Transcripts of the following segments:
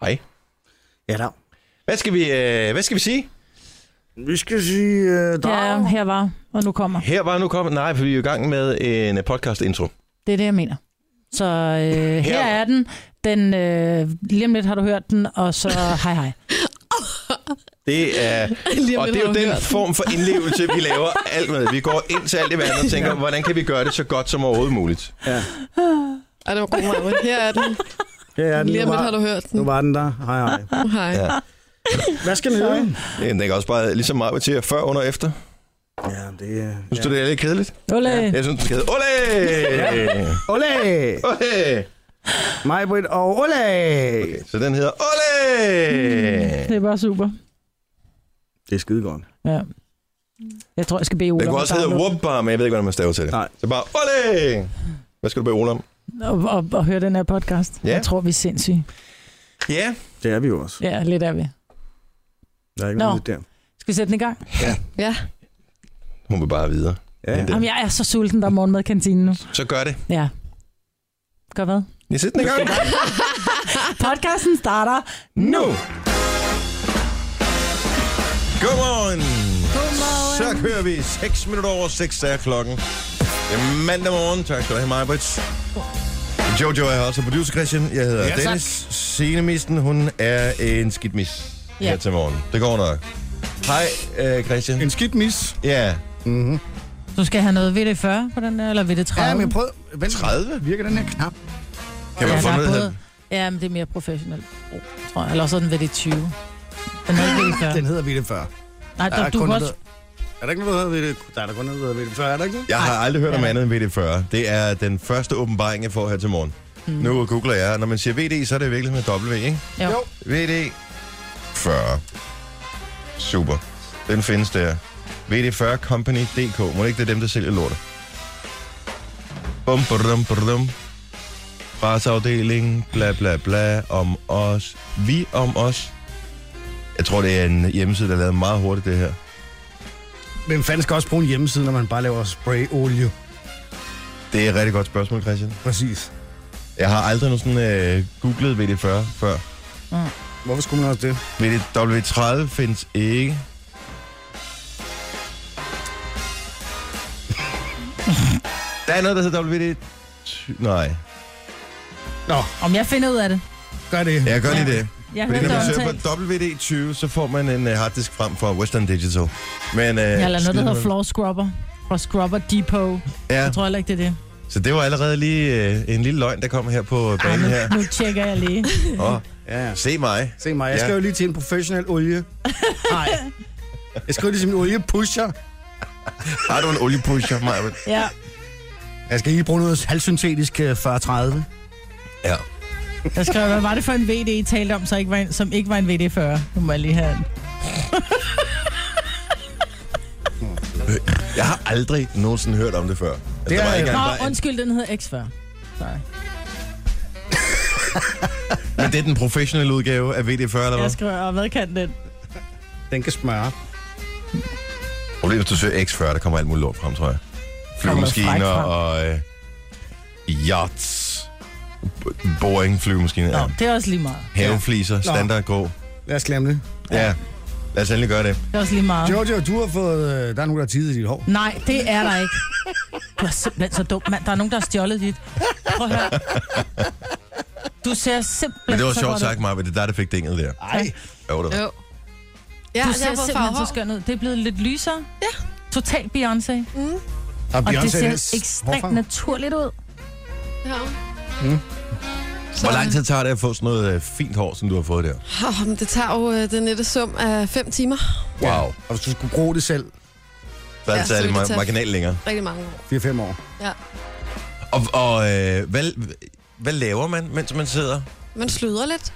Hej. Ja, da. Hvad skal vi, øh, hvad skal vi sige? Vi skal sige uh, Ja, dag. her var, og nu kommer. Her var nu kommet... Nej, for vi er jo i gang med en øh, podcast-intro. Det er det, jeg mener. Så øh, her er den. den øh, lige om lidt har du hørt den, og så hej hej. Det er, Lige om og lidt det er jo har vi den hørt. form for indlevelse, vi laver alt med. Vi går ind til alt i verden og tænker, hvordan kan vi gøre det så godt som overhovedet muligt? Ja. Ej, det var god, Maja. Her er den. Her er den. Lige om Nu lidt var- har du hørt den. Nu var den der. Hej, hej. Uh, Hej. Ja. Hvad skal den hedde? Øh, Den kan også bare ligesom meget til før, under og efter. Ja, det er... Synes du, det er lidt kedeligt? Ole. Jeg synes, den skal hedde Ole! Ole! Ole! Mig, Britt og Ole! Okay, så den hedder Ole! Øh. Det er bare super. Det er skidegodt. Ja. Jeg tror, jeg skal bede Ole Den kunne om at også hedde downloade Whopper, men jeg ved ikke, hvordan man staver til det. Nej. Så bare Ole! Hvad skal du bede Ole om? den og, og, og høre den her podcast. Ja. Jeg tror, vi er sindssyge. Ja, Det er vi jo også. Ja, lidt er vi. Der er ikke Nå. noget nyt der. Skal vi sætte den i gang? Ja. hun vil bare videre. Ja, Men ja. det- Jamen, jeg er så sulten, der er morgenmad i kantinen nu. Så gør det. Ja. Gør hvad? Jeg sætter den i gang. Podcasten starter. nu. Godmorgen. Så kører vi 6 minutter over 6 er klokken. Det er mandag morgen. Tak skal du have, Majbrits. Jojo er her også producer Christian. Jeg hedder ja, Dennis. Scenemisten, hun er en skidmis ja. Ja. her til morgen. Det går nok. Hej, øh, Christian. En skidt mis. Ja, Mm-hmm. Du skal have noget VD40 på den der, eller VD30? Ja, men jeg prøvede... Vent, 30. virker den her knap? Kan man ja, få der er noget både- her? Ja, men det er mere professionelt, brug, tror jeg. Eller også er den ved det 20. Den er ikke ved det 40. Den hedder Ville 40. Nej, Der er du, du kun kan noget, også... Er der ikke noget, der hedder Ville... Der er der kun noget, der hedder Ville 40, er der ikke det? Jeg har aldrig hørt om Ja. andet end VD40. Det er den første åbenbaring, jeg får her til morgen. Mm. Nu googler jeg, og når man siger VD, så er det virkelig med W, ikke? Jo. Jo. VD 40. Super. Den findes der. VD40 Company.dk. Må det ikke det er dem, der sælger lortet? Bum, brum, brum. Barsafdeling, bla bla bla, om os. Vi om os. Jeg tror, det er en hjemmeside, der er lavet meget hurtigt, det her. Hvem fanden skal også bruge en hjemmeside, når man bare laver sprayolie? Det er et rigtig godt spørgsmål, Christian. Præcis. Jeg har aldrig nogen sådan øh, googlet VD40 før. Mm. Hvorfor skulle man også det? VD30 findes ikke. Der er noget, der hedder VD... Nej, Nå, Om jeg finder ud af det. gør det. jeg gør lige Ja. det. Jeg Fordi hørte når det man søger omtalt. på WD20, så får man en øh, harddisk frem for Western Digital. Men, øh, Ja, eller noget, der hedder skide- Floor Scrubber. Fra Scrubber Depot. Ja, Jeg tror heller ikke, det er det. så det var allerede lige øh, en lille løgn, der kom her på Ej, banen nu, her. nu tjekker jeg lige. Åh, Ja, ja. se mig. Se mig, jeg Ja. skal jo lige til en professionel olie. Nej. Jeg skal jo lige til min oliepusher. Har du en oliepusher, Maja? Ja. Jeg skal lige bruge noget halvsyntetisk øh, 40-30. Ja. Jeg skrev, hvad var det for en VD, I talte om, så ikke var en, som ikke var en VD40? Nu må jeg lige have den. Jeg har aldrig nogensinde hørt om det før. Altså, Det der var er- ikke engang bare en- Nå, undskyld, den hedder X40. Sorry. Men det er den professionelle udgave af VD40, eller hvad? Jeg skriver, og hvad kan den? Den kan smøre. Problemet er, hvis du søger X40, der kommer alt muligt lort frem, tror jeg. Kommer Flyvemaskiner frækt frem. og øh, yachts. B- Boring flyvemaskiner. Nå, Ja. det er også lige meget. Havefliser, standard grå. Lad os glemme det. Ja, lad os endelig gøre det. Det er også lige meget. Jojo, du har fået... øh, Der er nogen, der har tidet i dit hår. Nej, det er der ikke. Du er simpelthen så dum, mand. Der er nogen, der har stjålet dit. Prøv at høre. Du ser simpelthen Men det var så sjovt godt ud. sagt, Maja, det er der, der fik dinget der. Ej. Jo, det var. Jo. Ja, altså, Du jeg ser har fået simpelthen så farver. skøn ud. Det er blevet lidt lysere. Ja. Totalt Beyoncé. Mm. Har Og det Beyoncé ser hendes ekstremt hårfarve? naturligt ud. Ja. Mm. Hmm. Hvor lang tid tager det at få sådan noget øh, fint hår, som du har fået der? Oh, det tager jo øh, den nette sum af 5 timer. Wow. Og hvis du skulle bruge det selv Så er Ja, det så taget vil det det tage- marginalt længere. Rigtig mange år. 4-5 år. Og, og øh, hvad, hvad laver man, mens man sidder? Man sluder lidt.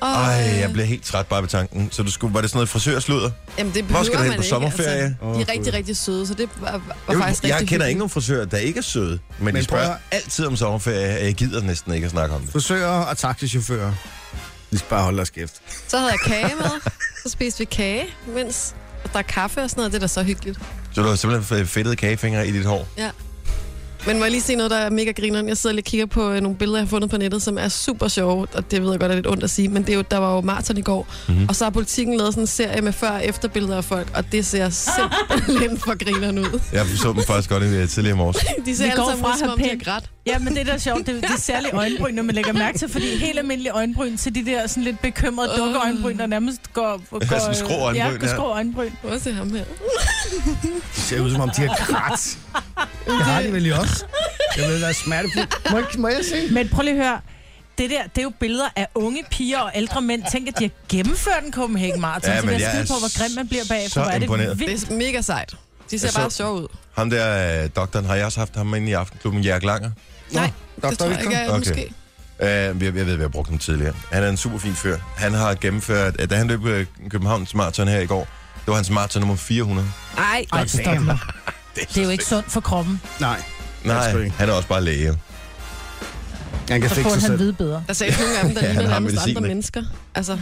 Og, Ej, øh, jeg bliver helt træt bare ved tanken. Så du skulle, var det sådan noget frisørsludder? Jamen, det Hvor behøver skal du hen man på ikke, sommerferie? Altså. Åh, De Gud. er rigtig, rigtig søde, så det var, var Jeg, faktisk jeg rigtig kender ikke hyggeligt. nogen frisører, der ikke er søde, men, men Men de prøv at- spørger altid om sommerferie, og jeg gider næsten ikke at snakke om det. Frisører og taxichauffører. Vi skal bare holde deres kæft. Så havde jeg kage med. Så spiste vi kage, mens der er kaffe og sådan noget. Det er da så hyggeligt. Så du har simpelthen fået fedtede kagefingre i dit hår? Ja. Men må jeg lige se noget, der er mega grineren? Jeg sidder lige og kigger på øh, nogle billeder, jeg har fundet på nettet, som er super sjove, og det ved jeg godt er lidt ondt at sige, men det er jo, der var jo maraton i går, mm-hmm. og så har politikken lavet sådan en serie med før- og efterbilleder af folk, og det ser simpelthen for grineren ud. Jeg så dem faktisk godt i øh, tidligere i morges. De ser Vi alle går sammen fra ud, som at om have de har pænt- grædt. Ja, men det der er sjovt, det, det er særligt øjenbryn, når man lægger mærke til, fordi helt almindelige øjenbryn til de der sådan lidt bekymrede dukkeøjenbryn, der nærmest går... går Ja, sådan skrå øjenbryn, Ja, går ja. skrå øjenbryn. Prøv at se ham her. Det ser ud som om, de har krat. Det har de vel i os. Jeg vil være smertefuld. Må, jeg- må jeg se? Men prøv lige at høre. Det der, det er jo billeder af unge piger og ældre mænd. Tænk, at de har gennemført en Copenhagen Marathon. Ja, Ja, så men det er jeg skide er på, hvor grim man bliver bagefter. så hvor er det imponeret. vildt. Det er mega sejt. De ser Jeg bare så- sjove ud. Ham der, øh, doktoren, har jeg også haft ham inde i aftenklubben, Jørg Langer. Nej, Nå, det tror jeg ikke, jeg Okay. måske. Øh, jeg, jeg ved, at vi har brugt ham tidligere. Han er en super fin fyr. Han har gennemført, at da han løb øh, Københavns Marathon her i går, det var hans maraton nummer 400. Nej, Ej, stop nu. Det er jo ikke sundt for kroppen. Nej, Nej, sgu ikke. han er også bare læge. han kan Så burde fikse sig han selv. vide bedre. der sagde nogle af dem, der Ja, ligner han har nærmest andre medicin, ikke? mennesker. Altså,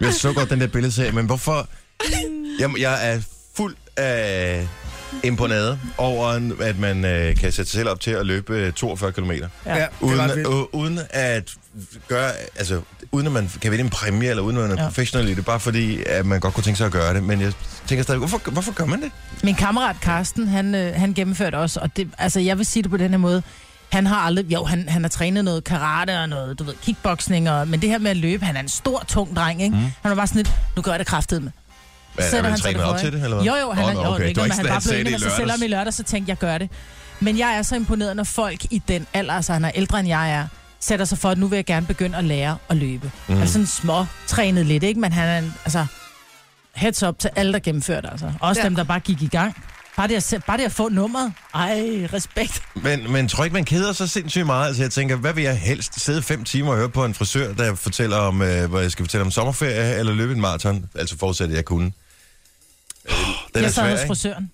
Jeg så godt den der billedserie, men hvorfor... Jamen, jeg er fuld af imponade over, en- at man øh, kan sætte sig selv op til at løbe øh, 42 km. Ja. Ja, det er ret Uden, vildt. øh, uden at gøre, altså, uden at man kan vinde en præmie, eller uden at man er Ja. ja. professionel i det, bare fordi, at man godt kunne tænke sig at gøre det. Men jeg tænker stadig, hvorfor, hvorfor gør man det? Min kammerat Karsten, han, øh, han gennemførte også, og det, altså, jeg vil sige det på den her måde, han har aldrig, jo, han, han har trænet noget karate og noget, du ved, kickboxing, og, men det her med at løbe, han er en stor, tung dreng, ikke? Mm. Han var bare sådan lidt, nu gør jeg det kraftedeme. Hvad, Sætter er man han sig trænet op for, til ikke? det, eller hvad? Jo, jo, han, Åh, oh, nå, jo, okay. Det var ikke, ikke men sådan, han han bare blev sagde enig med det i sig selv om i lørdags. lørdags, så tænkte jeg, gør det. Men jeg er så imponeret, når folk i den alder, altså han er ældre end jeg er, sætter sig for, at nu vil jeg gerne begynde at lære at løbe. Mm. Altså sådan små, trænet lidt, ikke? Men han er en, altså, heads up til alle, der gennemførte, altså. Også Ja. ja. dem, der bare gik i gang. Bare det, at, se- bare det at få nummeret. Ej, respekt. Men, men tror ikke, man keder sig sindssygt meget? Altså, jeg tænker, hvad vil jeg helst? Sidde fem timer og høre på en frisør, der fortæller om, øh, hvad jeg skal fortælle om sommerferie, eller løbe en maraton? Altså, forudsat, at jeg kunne. Øh, den er jeg sad svær, hos ikke? frisøren.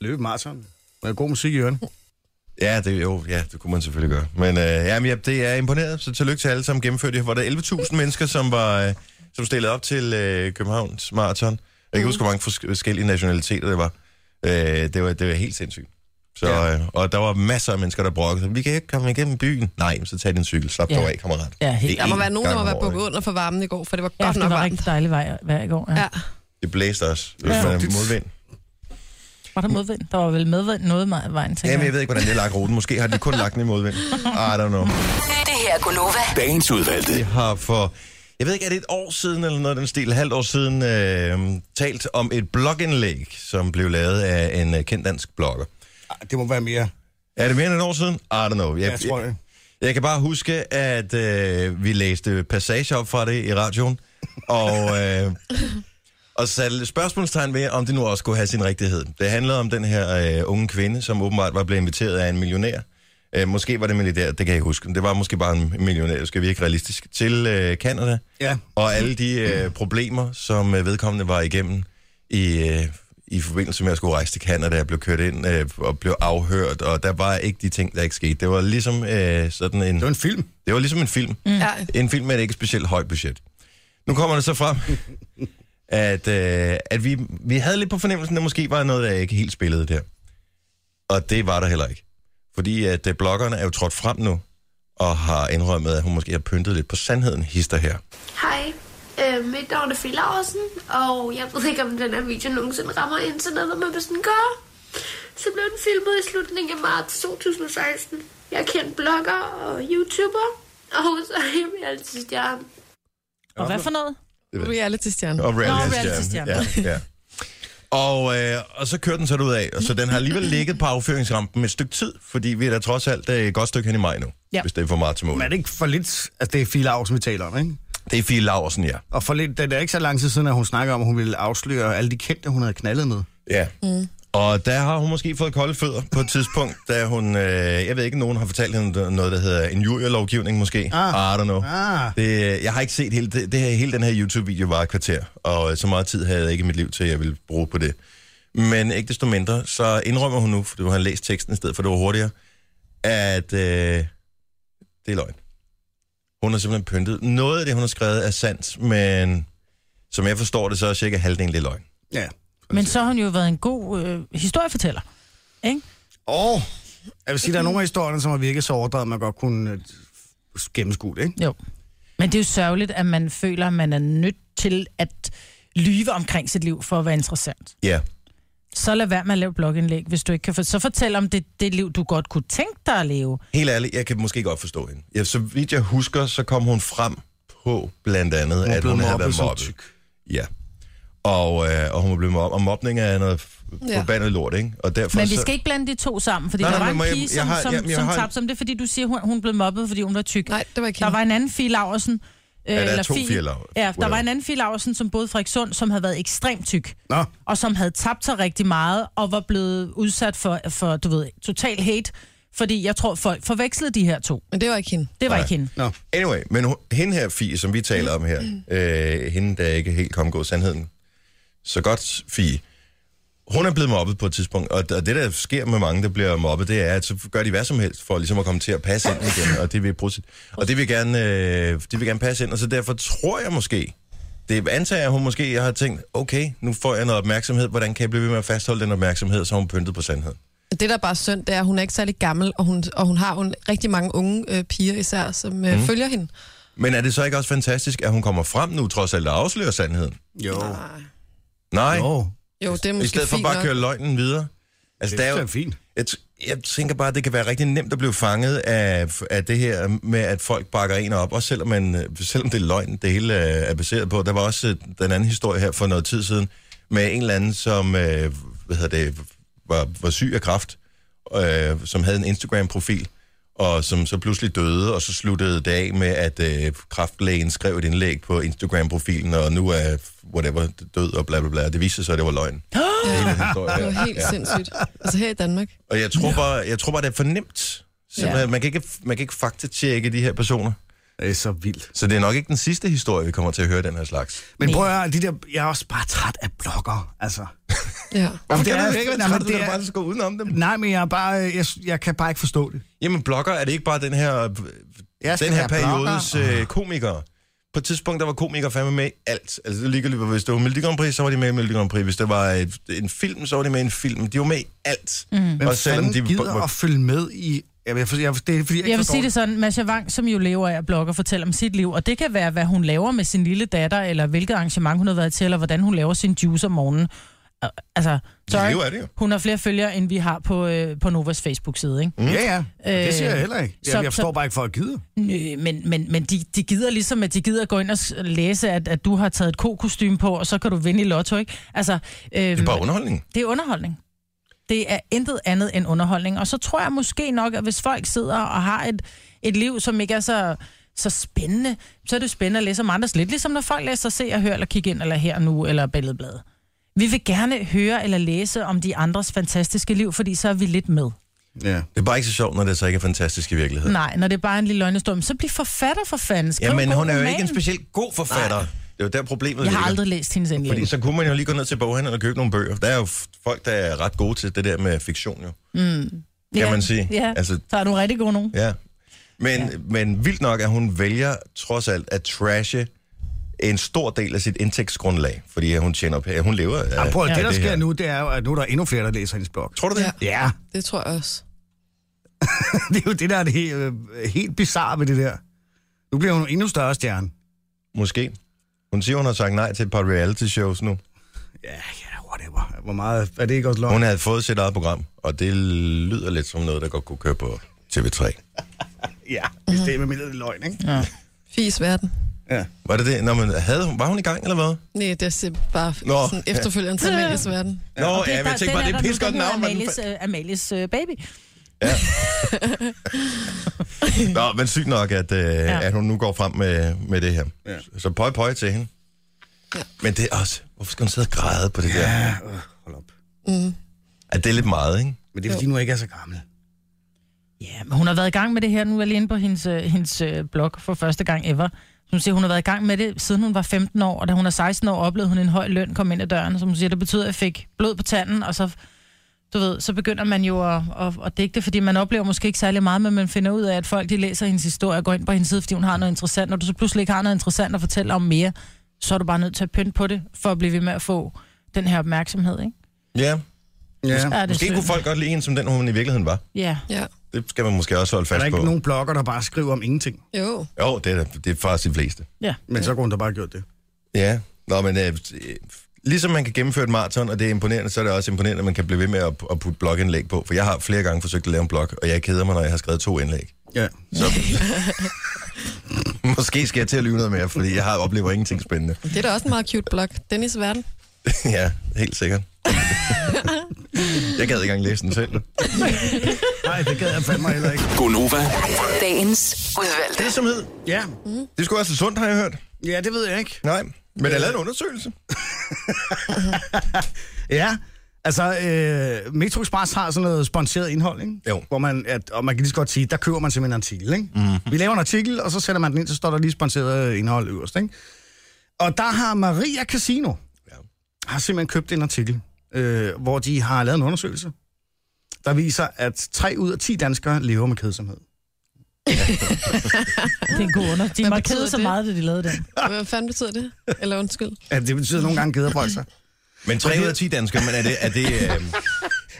Løbe maraton. Med god musik i ørene. Ja, det, jo, ja, det kunne man selvfølgelig gøre. Men øh, jamen, ja, det er imponeret, så tillykke til alle, som gennemførte det. Var der 11.000 mennesker, som var øh, som stillede op til øh, Københavns Marathon? Jeg kan mm. huske, hvor mange fors- forskellige nationaliteter det var. Øh, det var. Det var helt sindssygt. Så, Ja. øh, og der var masser af mennesker, der brokkede. sig. Vi kan ikke komme igennem byen. Nej, men så tag din cykel. Slap Ja. ja. dig af, kammerat. Ja, helt. Det er der må én være nogen, gang der må om være året, bukket under for varmen i går, for det var Ja, godt det nok var varmt. rigtig dejligt vej, vej i går. Ja. Ja. Ja. ikke? Det blæste også. Det Ja. var Fugtigt. modvind. Var der modvind? Der var vel medvind noget i vejen, tænker Jamen, jeg ved ikke, hvordan det er lagt ruten. Måske har de kun lagt den i modvind. I don't know. Det her er Gunova. Dagens udvalgte. Vi har for, jeg ved ikke, er det et år siden eller noget af den stil, et halvt år siden, øh, talt om et blogindlæg, som blev lavet af en øh, kendt dansk blogger. Ej, Ah, Det må være mere. Er det mere end et år siden? I don't know. Jeg, Jeg tror det. jeg kan bare huske, at øh, vi læste passager op fra det i radioen, og, øh, og satte spørgsmålstegn ved, om det nu også skulle have sin rigtighed. Det handlede om den her øh, unge kvinde, som åbenbart var blevet inviteret af en millionær. Øh, måske var det milliardær, det kan jeg ikke huske. men Det var måske bare en millionær, det skal virke realistisk, til øh, Canada. Ja. Og alle de øh, problemer, som øh, vedkommende var igennem i, øh, i forbindelse med at skulle rejse til Canada, jeg blev kørt ind øh, og blev afhørt, og der var ikke de ting, der ikke skete. Det var ligesom øh, sådan en... Det var en film. Det var ligesom en film. Mm. Ja, En film med et ikke specielt højt budget. Nu kommer det så frem, at, øh, at vi, vi havde lidt på fornemmelsen, at der måske var noget, der ikke helt spillede der. Og det var der heller ikke. Fordi at øh, bloggerne er jo trådt frem nu, og har indrømmet, at hun måske har pyntet lidt på sandheden, hister her. Hej, øh, mit navn er Fie Larsen, og jeg ved ikke, om den her video nogensinde rammer internettet, men hvis den gør, så blev den filmet i slutningen af marts 2016. Jeg er kendt blogger og youtuber, og så er jeg med altid stjerne. Og hvad for noget? reality-stjerne. Og reality-stjerne. reality-stjerne. ja, ja. Og, øh, og så kører den så ud af, og så den har alligevel ligget på affyringsrampen et stykke tid, fordi vi er da trods alt øh, et godt stykke hen i maj nu, Ja. ja. hvis det er for meget til Men er mål. det ikke for lidt... Altså, det er Fie Larsen, vi taler om, ikke? Det er Fie Laursen, ja. Og for lidt, det er ikke så lang tid siden, at hun snakker om, at hun ville afsløre alle de kendte, hun havde knaldet med. Ja. Mm. Og der har hun måske fået kolde fødder på et tidspunkt, da hun, øh, jeg ved ikke, nogen har fortalt hende noget, der hedder en jurierlovgivning måske. Ah. I don't know. Ah. Det, øh, jeg har ikke set hele, det, det her, hele den her YouTube-video var et kvarter, og så meget tid havde jeg ikke i mit liv til, at jeg ville bruge på det. Men ikke desto mindre, så indrømmer hun nu, for du har læst teksten i stedet for, det var hurtigere, at øh, det er løgn. Hun har simpelthen pyntet. Noget af det, hun har skrevet, er sandt, men som jeg forstår det, så er cirka halvdelen det løgn. Ja. Men så har hun jo været en god øh, historiefortæller. Ikke? Og jeg vil sige, der er nogle af historierne, som har virket så overdrevet, at man godt kunne øh, gennemskue det, ikke? Jo. Men det er jo sørgeligt, at man føler, at man er nødt til at lyve omkring sit liv for at være interessant. Ja. Så lad være med at lave blogindlæg, hvis du ikke kan for... Så fortæl om det, det liv, du godt kunne tænke dig at leve. Helt ærligt, jeg kan måske godt forstå hende. Ja, så vidt jeg husker, så kom hun frem på blandt andet, Hun er at blevet hun havde mobbet været som mobbet. tyk. Ja. Og, øh, og hun var blevet mobbet. Og mobning er noget f- Ja. forbandet lort, ikke? Og derfor Men vi så- skal ikke blande de to sammen, fordi Nej, nej, der nej, var men en må jeg- pige, jeg som, jeg har- har, som, jamen, jeg som har- tabte som det, fordi du siger, hun, hun blev mobbet, fordi hun var tyk. Nej, det var ikke Der hende. var en anden Fie Laursen. Øh, der er to Fie- Fie Lau- Ja, der whatever. var en anden Fie Laursen, som boede i Frederikssund, som havde været ekstremt tyk. Nå, og som havde tabt sig rigtig meget, og var blevet udsat for, for du ved, total hate, fordi jeg tror, folk forvekslede de her to. Men det var ikke hende. Det var Nej. ikke hende. nå. Anyway, men hun- hende her, Fie, som vi taler om her, øh, hende, der ikke helt kom gået sandheden, så godt, Fie, hun er blevet mobbet på et tidspunkt, og og det, der sker med mange, der bliver mobbet, det er, at så gør de hvad som helst for ligesom at komme til at passe ind igen, og det vil, bruge sit- og det vil, gerne, øh, det vil gerne passe ind, og så derfor tror jeg måske, det antager jeg, hun måske jeg har tænkt, okay, nu får jeg noget opmærksomhed, hvordan kan jeg blive ved med at fastholde den opmærksomhed, så har hun pyntet på sandheden. Det, der er bare er synd, det er, at hun er ikke særlig gammel, og hun, og hun har jo en- rigtig mange unge øh, piger især, som øh, mm. følger hende. Men er det så ikke også fantastisk, at hun kommer frem nu, trods alt, og afslører sandheden? Jo. Nej. Jo. Jo, det er I måske stedet for fint bare at nok. køre løgnen videre. Altså, det, Det er der er jo, jo fint. jeg, t- jeg tænker bare, at det kan være rigtig nemt at blive fanget af, af det her med, at folk bakker en op. Også selvom, man, øh, selvom det er løgn, det hele øh, er baseret på. Der var også øh, den anden historie her for noget tid siden med en eller anden, som øh, hvad hedder det, var, var syg af kræft, øh, som havde en Instagram-profil, og som så pludselig døde, og så sluttede det af med, at øh, kraftlægen skrev et indlæg på Instagram-profilen, og nu er whatever død og bla bla bla. Det viste sig, at det var løgn. Det er hele historien Det her. var helt ja. sindssygt. Altså her i Danmark. Og jeg tror bare, jeg tror bare det er for nemt. Simpelthen, man, kan ikke, man kan ikke faktatjekke de her personer. Det er så vildt. Så det er nok ikke den sidste historie, vi kommer til at høre den her slags. Men prøv at høre, de der, jeg er også bare træt af blogger, altså. Ja. Jamen, Kan du ikke nej, være men træt, du det kan er- bare skal gå udenom dem? Nej, men jeg, er bare, øh, jeg, jeg kan bare ikke forstå det. Jamen, blogger, er det ikke bare den her, øh, Jeg skal den her være blogger. Ah. periodes øh, komikere? På et tidspunkt, der var komikere fandme med i alt. Altså, det er ligegyldigt, hvis det var Melodi Grand Prix, så var de med i Melodi Grand Prix. Hvis det var et, en film, så var de med i en film. De var med i alt. Mm. Hvem fanden gider at følge med i... Jeg, jeg, jeg, det er, fordi jeg, Jeg vil sige det sådan, Masha Wang, som jo lever af at blogge og fortælle om sit liv, og det kan være, hvad hun laver med sin lille datter, eller hvilket arrangement hun har været til, eller hvordan hun laver sin juice om morgenen. Og, Altså, sorry, lever af det jo. hun har flere følgere, end vi har på, øh, på Novas Facebook-side, ikke? Mm. Ja, ja. Øh, det siger jeg heller ikke. Jeg, så- jeg forstår bare ikke, for at gide. Nø, Øh, men, men, men de, de gider ligesom, at de gider gå ind og s- læse, at, at du har taget et kokostyme på, og så kan du vinde i lotto, ikke? Altså, øhm, Det er bare underholdning. det er underholdning. Det er intet andet end underholdning. Og så tror jeg måske nok, at hvis folk sidder og har et, et liv, som ikke er så, så spændende, så er det jo spændende at læse om andres lidt. Ligesom når folk læser Se og Hør, eller Kig ind, eller Her og Nu, eller Billedbladet. Vi vil gerne høre eller læse om de andres fantastiske liv, fordi så er vi lidt med. Ja. Det er bare ikke så sjovt, når det så ikke er fantastisk i virkeligheden. Nej, når det er bare en lille løgnestorm, så bliv forfatter for fanden. Skriv Ja, men en god hun er jo roman. ikke en specielt god forfatter. Nej. Det er jo der problemet Jeg har ligger. aldrig læst hendes indlæg. Fordi så kunne man jo lige gå ned til boghandlen og købe nogle bøger. Der er jo f- folk, der er ret gode til det der med fiktion, jo. Kan Mm. ja, man sige. Ja, altså... Altså, så er du rigtig god nogen. ja. Men, ja. men vildt nok, at hun vælger trods alt at trashe en stor del af sit indtægtsgrundlag, fordi hun tjener penge. Hun lever af, Jamen, prøv, ja, af det, der her. sker nu, det er jo, at nu er der endnu flere, der læser hendes blog. Tror du det? Ja. Ja, Det tror jeg også. det er jo det, der er det helt, øh, helt bizarre ved det der. Nu bliver hun endnu større stjerne. Måske. Hun siger, hun har sagt nej til et par reality-shows nu. Ja, ja, whatever. Hvor meget er det ikke også Hun løgn? havde fået sit eget program, og det lyder lidt som noget, der godt kunne køre på TV3. Ja, hvis det er med mindre løgn, ikke? Ja. Fis verden. ja. Var det det? Nå, men havde hun, var hun i gang, eller hvad? Nej, det er simpelthen bare Nå. Nå. sådan efterfølgeren til Amelies verden. Nå, ja, det, ja, men jeg tænkte bare, det er pis godt navn. men- Amalies, øh, Amalies øh, baby. Nå, men sygt nok, at, øh, ja. at hun nu går frem med, med det her. Ja. Så pøj pøj til hende. Ja. Men det er også, hvorfor skal hun sidde og græde på det ja. der? Øh, hold op. At det er lidt meget, ikke? Men det er fordi, nu ikke er så gammel. Ja, men hun har været i gang med det her. Nu er jeg lige inde på hendes, øh, hendes øh, blog for første gang ever. Hun siger, hun har været i gang med det, siden hun var 15 år, og da hun er 16 år, oplevede hun en høj løn, kom ind ad døren, som hun siger, det betyder, at jeg fik blod på tanden, og så, du ved, så begynder man jo at, at, at digte, fordi man oplever måske ikke særlig meget, men man finder ud af, at folk de læser hendes historie og går ind på hendes side, fordi hun har noget interessant, og du så pludselig ikke har noget interessant at fortælle om mere, så er du bare nødt til at pynte på det, for at blive ved med at få den her opmærksomhed, ikke? Ja. Ja. Ja, det er Måske synd. kunne folk godt lide hende som den, hun i virkeligheden var. Ja. Ja. Det skal man måske også holde Er fast der på. ikke nogen blogger, der bare skriver om ingenting? Jo. Jo, det er, det er faktisk de fleste. ja. Men så kunne hun da bare have gjort det. Ja, Nå, men øh, ligesom man kan gennemføre et maraton, og det er imponerende, så er det også imponerende, at man kan blive ved med at, at putte blogindlæg på. For jeg har flere gange forsøgt at lave en blog, og jeg keder mig, når jeg har skrevet to indlæg. Ja. Måske skal jeg til at lyve noget mere, fordi jeg har oplever ingenting spændende. Det er da også en meget cute blog. Dennis Verden. ja, helt sikkert. jeg gad ikke engang læse den selv. Nej, det gad jeg fandme heller ikke. Gonova. Dagens udvalgte. Det som hed, Ja. det skulle være så sundt, har jeg hørt. ja, det ved jeg ikke. Øh, Nej, men der er lavet en undersøgelse. Ja, altså øh, Metro Express har sådan noget sponsoreret indhold, ikke? Jo. Hvor man, at, og man kan lige så godt sige, der køber man simpelthen en artikel, ikke? Mhm. Mm-hmm. Vi laver en artikel, og så sætter man den ind, så står der lige sponsoreret indhold øverst, ikke? Og der har Maria Casino Ja. ja. har simpelthen købt en artikel, øh, hvor de har lavet en undersøgelse, der viser, at 3 ud af 10 danskere lever med kedsomhed. Det er en god under. De Hvad markerede betyder så det? meget, da de lavede den. Hvad fanden betyder det? Eller undskyld. At det betyder nogle gange keder folk sig. Men 3 ud af 10 danskere, men er det, er det, øh,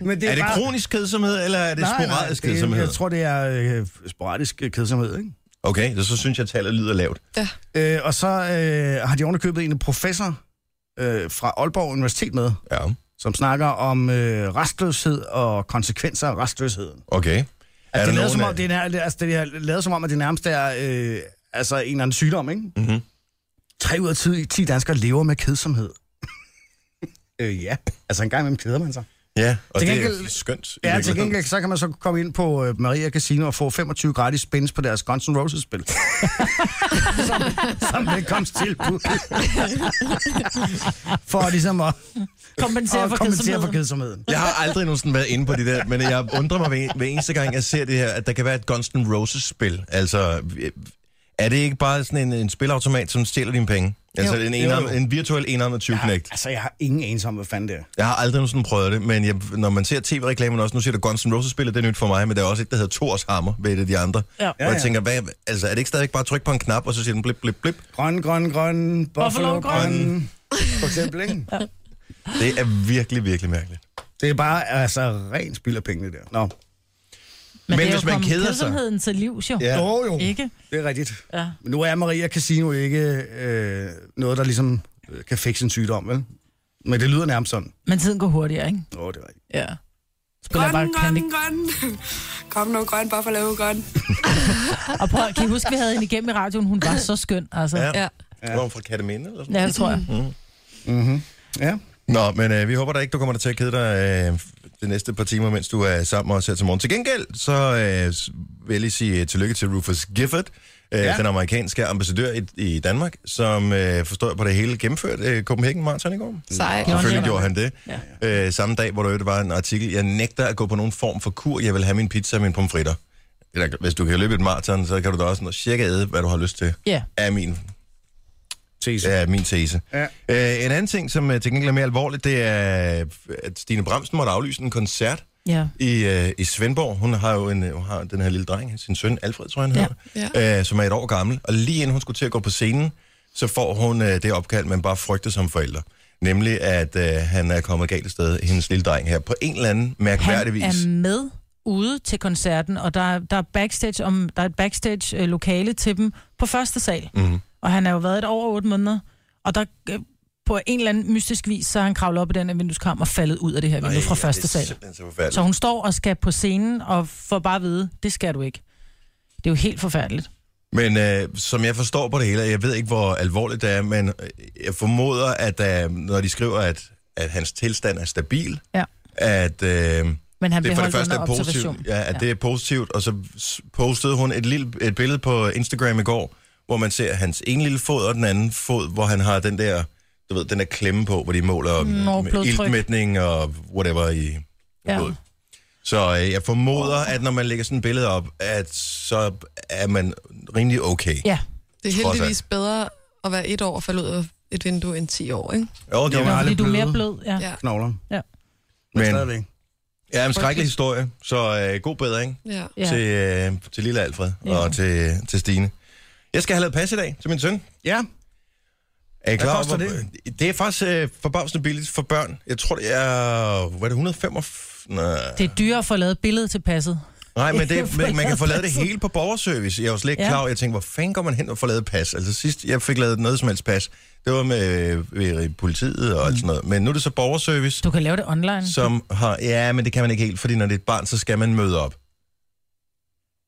Men er det kronisk kedsomhed, eller er det sporadisk det, kedsomhed? jeg tror, det er øh, sporadisk øh, kedsomhed, ikke? Okay, så, så synes jeg, at tallet lyder lavt. Ja. Øh, og så øh, har de underkøbet en professor øh, fra Aalborg Universitet med, Ja, som snakker om øh, restløshed og konsekvenser af restløsheden. okay. Altså, det, er lavet, som om, af- det, er, nær- altså, det er lavet som om, at det nærmest er øh, altså, en eller anden sygdom, ikke? Mhm. 3 ud af 10, 10 danskere lever med kedsomhed. øh, ja, altså en gang imellem keder man sig. Ja, og Til det er gengæld- skønt. i Ja, til virkeligheden. gengæld, så kan man så komme ind på øh, Maria Casino og få 25 gratis spins på deres Guns N' Roses-spil. som, som velkomsttilbud. For ligesom at, Kompensere at for kompensere for kedsomheden. kedsomheden. Jeg har aldrig nogensinde været inde på det der, men jeg undrer mig hver, hver eneste gang, jeg ser det her, at der kan være et Guns N' Roses-spil. Altså, øh, er det ikke bare sådan en, en spilautomat, som stjæler dine penge? Altså, Jo, en, jo, enarm, jo. en virtuel enarmet tyvknægt. Altså, jeg har ingen anelse om, hvad fanden det er. Jeg har aldrig nogensinde prøvet det, men jeg, når man ser tv-reklamen også, nu ser der Guns N' Roses-spillet, det er nyt for mig, men der er også et, der hedder Thors Hammer ved et af de andre. Ja. Og Ja, jeg ja. tænker, hvad, altså, er det ikke stadigvæk bare at trykke på en knap, og så siger den blip, blip, blip? Grøn, grøn, grøn, buffalo, Buffalo, grøn. grøn. For eksempel, ikke? Det er virkelig, virkelig mærkeligt. Det er bare altså ren spild af pengene der. Nå. Men det er hvis jo man kommet keder sig- kedsomheden til livs jo. Ja. Jo, jo. Ikke? Det er rigtigt. Ja. Men nu er Maria Casino ikke øh, noget, der ligesom øh, kan fikse en sygdom, vel? Men det lyder nærmest sådan. Men tiden går hurtigere, ikke? Åh, oh, det er rigtigt. Ja. Spiller bare Candy grøn. Kom nu, grøn, bare for lave grøn. Og prøv, kan I huske, vi havde hende igennem i radioen? Hun var så skøn, altså. Ja, Ja. Ja. Hvor er hun fra Kataminde eller sådan Mhm. ja det tror jeg. Ja. Nå, men øh, vi håber da ikke, du kommer til at kede dig øh, de næste par timer, mens du er sammen med os her til morgen. Til gengæld, så øh, s- vil jeg lige sige øh, tillykke til Rufus Gifford, øh, ja. Ja. den amerikanske ambassadør i, i Danmark, som øh, forstår jeg på det hele gennemførte øh, Copenhagen Marathon i går. Sej. Selvfølgelig det. gjorde han det. Ja. Øh, samme dag, hvor der jo var en artikel, jeg nægter at gå på nogen form for kur, jeg vil have min pizza og mine pomfritter. Eller, hvis du kan løbe et maraton, så kan du da også noget cirka æde, hvad du har lyst til. Ja. Er min Tese. er min tese. Ja. Øh, en anden ting, som øh, til gengæld er mere alvorligt, det er, at Stine Bramsen måtte aflyse en koncert Ja. i, øh, i Svendborg. Hun har jo en, øh, hun har den her lille dreng, sin søn Alfred, tror jeg, han Ja. hedder, ja. øh, som er et år gammel. Og lige inden hun skulle til at gå på scenen, så får hun øh, det opkald, man bare frygter som forældre. Nemlig, at øh, han er kommet galt af sted, hendes lille dreng her, på en eller anden Han mærkværdig vis. er med ude til koncerten, og der, er- der er backstage om der er et backstage øh, lokale til dem på første sal. Mm. Mhm. Og han har jo været et over otte måneder, og der øh, på en eller anden mystisk vis, så er han kravlet op i den her vindueskram og faldet ud af det her vindue fra første det er sal. simpelthen så forfærdeligt. Så hun står og skal på scenen og får bare at vide, det skal du ikke. Det er jo helt forfærdeligt. Men øh, som jeg forstår på det hele, og jeg ved ikke, hvor alvorligt det er, men øh, jeg formoder, at øh, når de skriver, at, at hans tilstand er stabil, Ja. at øh, Men han det bliver for holdt det første under er observation. positivt, ja, at ja. det er positivt, og så s- postede hun et, lille, et billede på Instagram i går, hvor man ser hans ene lille fod og den anden fod, hvor han har den der, du ved, den der klemme på, hvor de måler Nå, med Mm, blodtryk. iltmætning og whatever i ja. Ja. blodet. Så øh, jeg formoder, at når man lægger sådan et billede op, at så er man rimelig okay. Ja, Det er alt. heldigvis bedre at være et år og falde ud af et vindue end 10 år, ikke? Jo, det Jo, var, men- fordi lidt du er bløde. mere blød. Ja. Ja. Knogler. Ja. Men, Men- stadigvæk. ja, en skrækkelig historie, så øh, god bedring Ja. ja. til, øh, til lille Alfred ja. Ja. og til, til Stine. Jeg skal have lavet pas i dag til min søn. Ja. Er I klar, over, koster hvor- Det er faktisk øh, forbavsende billigt for børn. Jeg tror, det er... Hvad er det? 145... Nå. Det er dyrere at få lavet billede til passet. Nej, men Jeg det, får man, man kan lavet få lavet det passet. hele på borgerservice. Jeg var slet ikke Ja. klar over, jeg tænkte, hvor fanden går man hen og får lavet pas? Altså sidst, jeg fik lavet noget som helst pas. Det var med, med politiet og alt sådan noget. Men nu er det så borgerservice, Du kan lave det online. Så... som har... Ja, men det kan man ikke helt, fordi når det er et barn, så skal man møde op.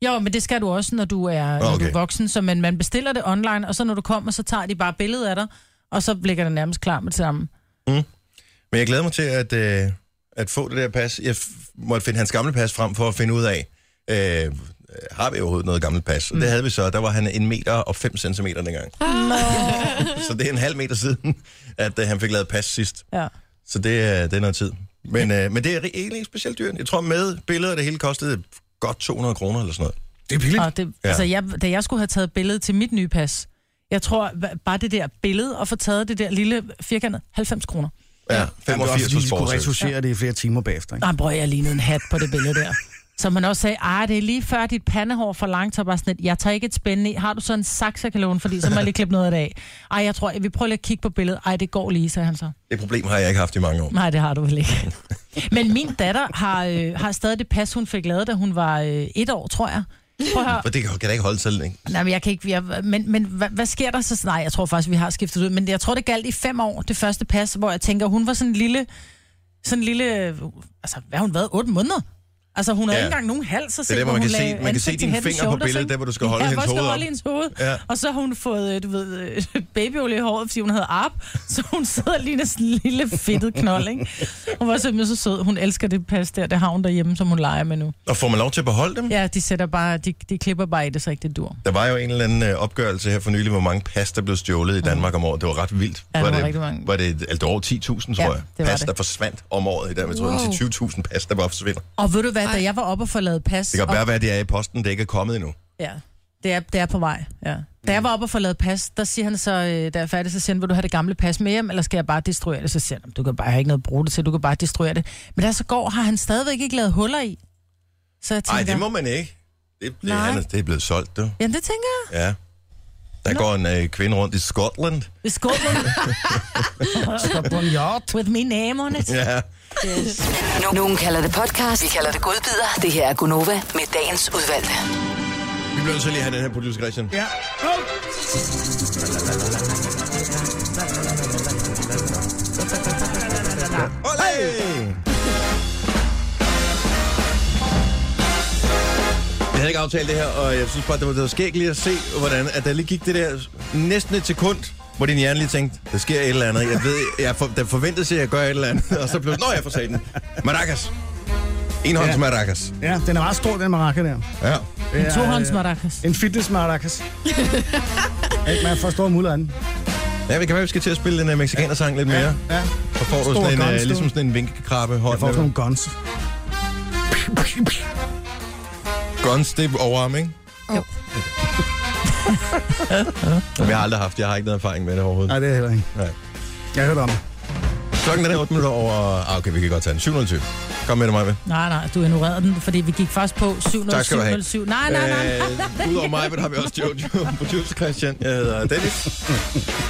Jo, men det skal du også, når du er, okay. når du Okay. er voksen. Så man, man bestiller det online, og så når du kommer, så tager de bare billedet af dig, og så ligger det nærmest klar med det samme. Men jeg glæder mig til at, øh, at få det der pas. Jeg f- måtte finde hans gamle pas frem for at finde ud af, øh, har vi overhovedet noget gammelt pas? Mm. Og det havde vi så. Der var han en meter og 5 centimeter dengang. Ah. så det er en halv meter siden, at øh, han fik lavet pas sidst. Ja. Så det, er- det er noget tid. Men, øh, men det er egentlig ikke specielt dyrt. Jeg tror med billeder, det hele kostede godt 200 kroner eller sådan noget. Det er billigt. Og det, Ja. ja. altså, jeg, da jeg skulle have taget billede til mit nye pas, jeg tror hva- bare det der billede og få taget det der lille firkantet, 90 kroner. Ja, Jamen, det var også 85 fordi, hos de skulle Borgservice. retuschere det i flere timer bagefter. Ikke? Nej, brød jeg lignede en hat på det billede der. Så man også sagde, ah, det er lige før dit pandehår for langt, så bare sådan et, jeg tager ikke et spændende i. Har du så en saks, jeg kan låne, fordi så må jeg lige klippe noget af det af. Ej, jeg tror, vi prøver lige at kigge på billedet. Ej, det går lige, sagde han så. Det problem har jeg ikke haft i mange år. Nej, det har du vel ikke. Men min datter har, øh, har stadig det pas, hun fik lavet, da hun var øh, et år, tror jeg. Prøv at høre. For det kan, kan da ikke holde til længe. Nej, men jeg kan ikke... Jeg, men men hvad, hvad sker der så? Nej, jeg tror faktisk, vi har skiftet ud. Men jeg tror, det galt i fem år, det første pas, hvor jeg tænker, hun var sådan en lille... Sådan en lille... Altså, hvad har hun været? Otte måneder? Altså, hun havde Ja. ikke engang nogen hals at er se, der, hvor hvor man hun kan se- lagde man kan se ansigt til dine head and fingre på shoulders, billedet, ikke? der, hvor du skal holde ja, hendes hvor jeg hoved skal op. holde hendes hoved. Ja. Ja. Og så har hun fået, øh, du ved, øh, babyolie i håret, fordi hun havde arp, så hun sidder lige ligner sådan en lille fedtet knold, ikke? Hun var simpelthen så sød. Hun elsker det pas der, det har hun derhjemme, som hun leger med nu. Og får man lov til at beholde dem? Ja, de sætter bare, de, de klipper bare i det, så ikke det dur. Der var jo en eller anden øh, opgørelse her for nylig, hvor mange pas, der blev stjålet i Danmark om året. Det var ret vildt. Mhm. Ja, det var det, rigtig mange. Var det, altså, det var over 10.000, tror Ja, jeg. det var pas, det. der forsvandt om året i Danmark. Jeg tror, Wow. det er 20.000 pas, der bare forsvinder. Og ved du hvad, da jeg var oppe og få lavet pas... Det kan og- bare være, at det er i posten, det ikke er kommet endnu. Ja, det er, det er på vej, ja. Da Mm. jeg var oppe og få lavet pas, der siger han så, øh, da jeg er færdig, så siger han, vil du have det gamle pas med hjem, eller skal jeg bare destruere det? Så siger han, du kan bare have ikke noget at bruge det til, du kan bare destruere det. Men da jeg så går, har han stadigvæk ikke lavet huller i. Så jeg tænker, Nej, det må man ikke. Det, det, Nej. han, er- det er blevet solgt, du. Jamen, det tænker jeg. Ja. Der går en øh, kvinde rundt i Skotland. Ved skålen, Og bonjour. with me name on it. Ja. No- Nogen kalder det podcast, vi kalder det godbider. Det her er Gunova med dagens udvalgte. Vi bliver nødt til lige at have den her producer, Christian. Ja. Olé! Jeg havde ikke aftalt det her, og jeg synes bare, det var, det var skægt lige at se, hvordan at der lige gik det der næsten et sekund, hvor din hjerne lige tænkte, der sker et eller andet. Jeg ved, jeg for, der forventede sig, at jeg gør et eller andet, og så blev nå, jeg for satan. Maracas. En hånds Ja. maracas. ja, den er meget stor, den maraca der. Ja. Det er, Tohånds øh, maracas. En fitness maracas. Ikke, man får store muller af den. ja, vi kan være, vi skal til at spille den uh, mexikanersang lidt mere. Ja. Ja. Så får du Stor sådan en, uh, guns, du. ligesom sådan en vinkekrabbe Jeg får sådan hånd. nogle guns. Guns, det er overarm, ikke? Jo. Som jeg har aldrig haft. Jeg har ikke noget erfaring med det overhovedet. Nej, det er heller ikke. Nej. Jeg hørte om det. Klokken er 8 minutter over... Ah, okay, vi kan godt tage den. 7.20. Kom med det, Maja. Nej, nej, du ignorerede den, fordi vi gik først på 707. Tak skal du have. 707. Nej, nej, nej. Øh, Udover mig, har vi også Jojo, producer Christian. Jeg hedder Dennis.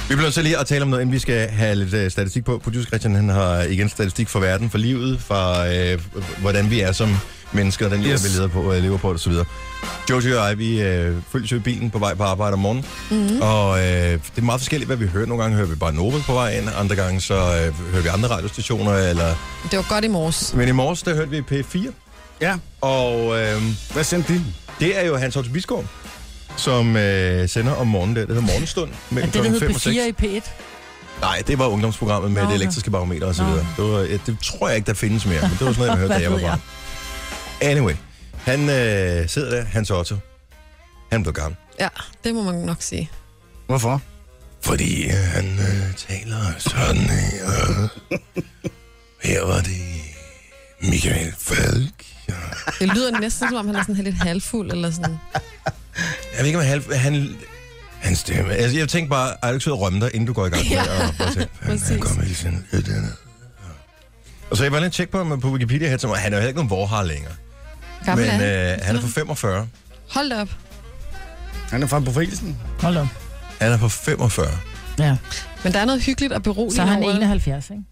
vi bliver så lige at tale om noget, inden vi skal have lidt øh, statistik på. Producer Christian, han har igen statistik for verden, for livet, for øh, hvordan vi er som mennesker, den yes. Yes. vi leder på, øh, lever på osv. Jojo og jeg, vi øh, følges jo i bilen på vej på arbejde om morgenen. Mm. Mhm. Mm-hmm. Og øh, det er meget forskelligt, hvad vi hører. Nogle gange hører vi bare Nobel på vej ind, andre gange så øh, hører vi andre radiostationer. Eller... Det var godt i morges. Men i morges, der hørte vi P4, Ja, og... Øh, hvad sendte de? det er jo Hans Otto Bisgaard, som øh, sender om morgenen der. Det hedder Morgenstund Er mellem det, der klokken hed 5 og 6. P4 i P1? Nej, det var ungdomsprogrammet med Nå, det okay. elektriske barometer osv. Nå. Det, var, ja, det tror jeg ikke, der findes mere, men det var sådan noget, jeg hørte, da Hvad jeg var ved barn. Anyway, han øh, sidder der, Hans Otto. Han blev gammel. Ja, det må man nok sige. Hvorfor? Fordi han øh, taler sådan her. Her var det Michael Falk. Det lyder næsten, som om han er sådan lidt halvfuld, eller sådan. Jeg ved ikke, om han... han han stemme. Altså, jeg tænkte bare, er du ikke sød at rømme dig, inden du går i gang med Ja, at- at tænke, han, han præcis. kommer hele tiden. Ja, det er det. Ja. Og så jeg var lige tjekke på ham på Wikipedia her, som han er jo heller ikke nogen vorhar længere. Gammel Men er han. øh, han er fra 45. Hold da op. Han er fra befrielsen. Hold op. Han er fra 45. Ja. Men der er noget hyggeligt og beroligende Så er han over det. 71, ikke?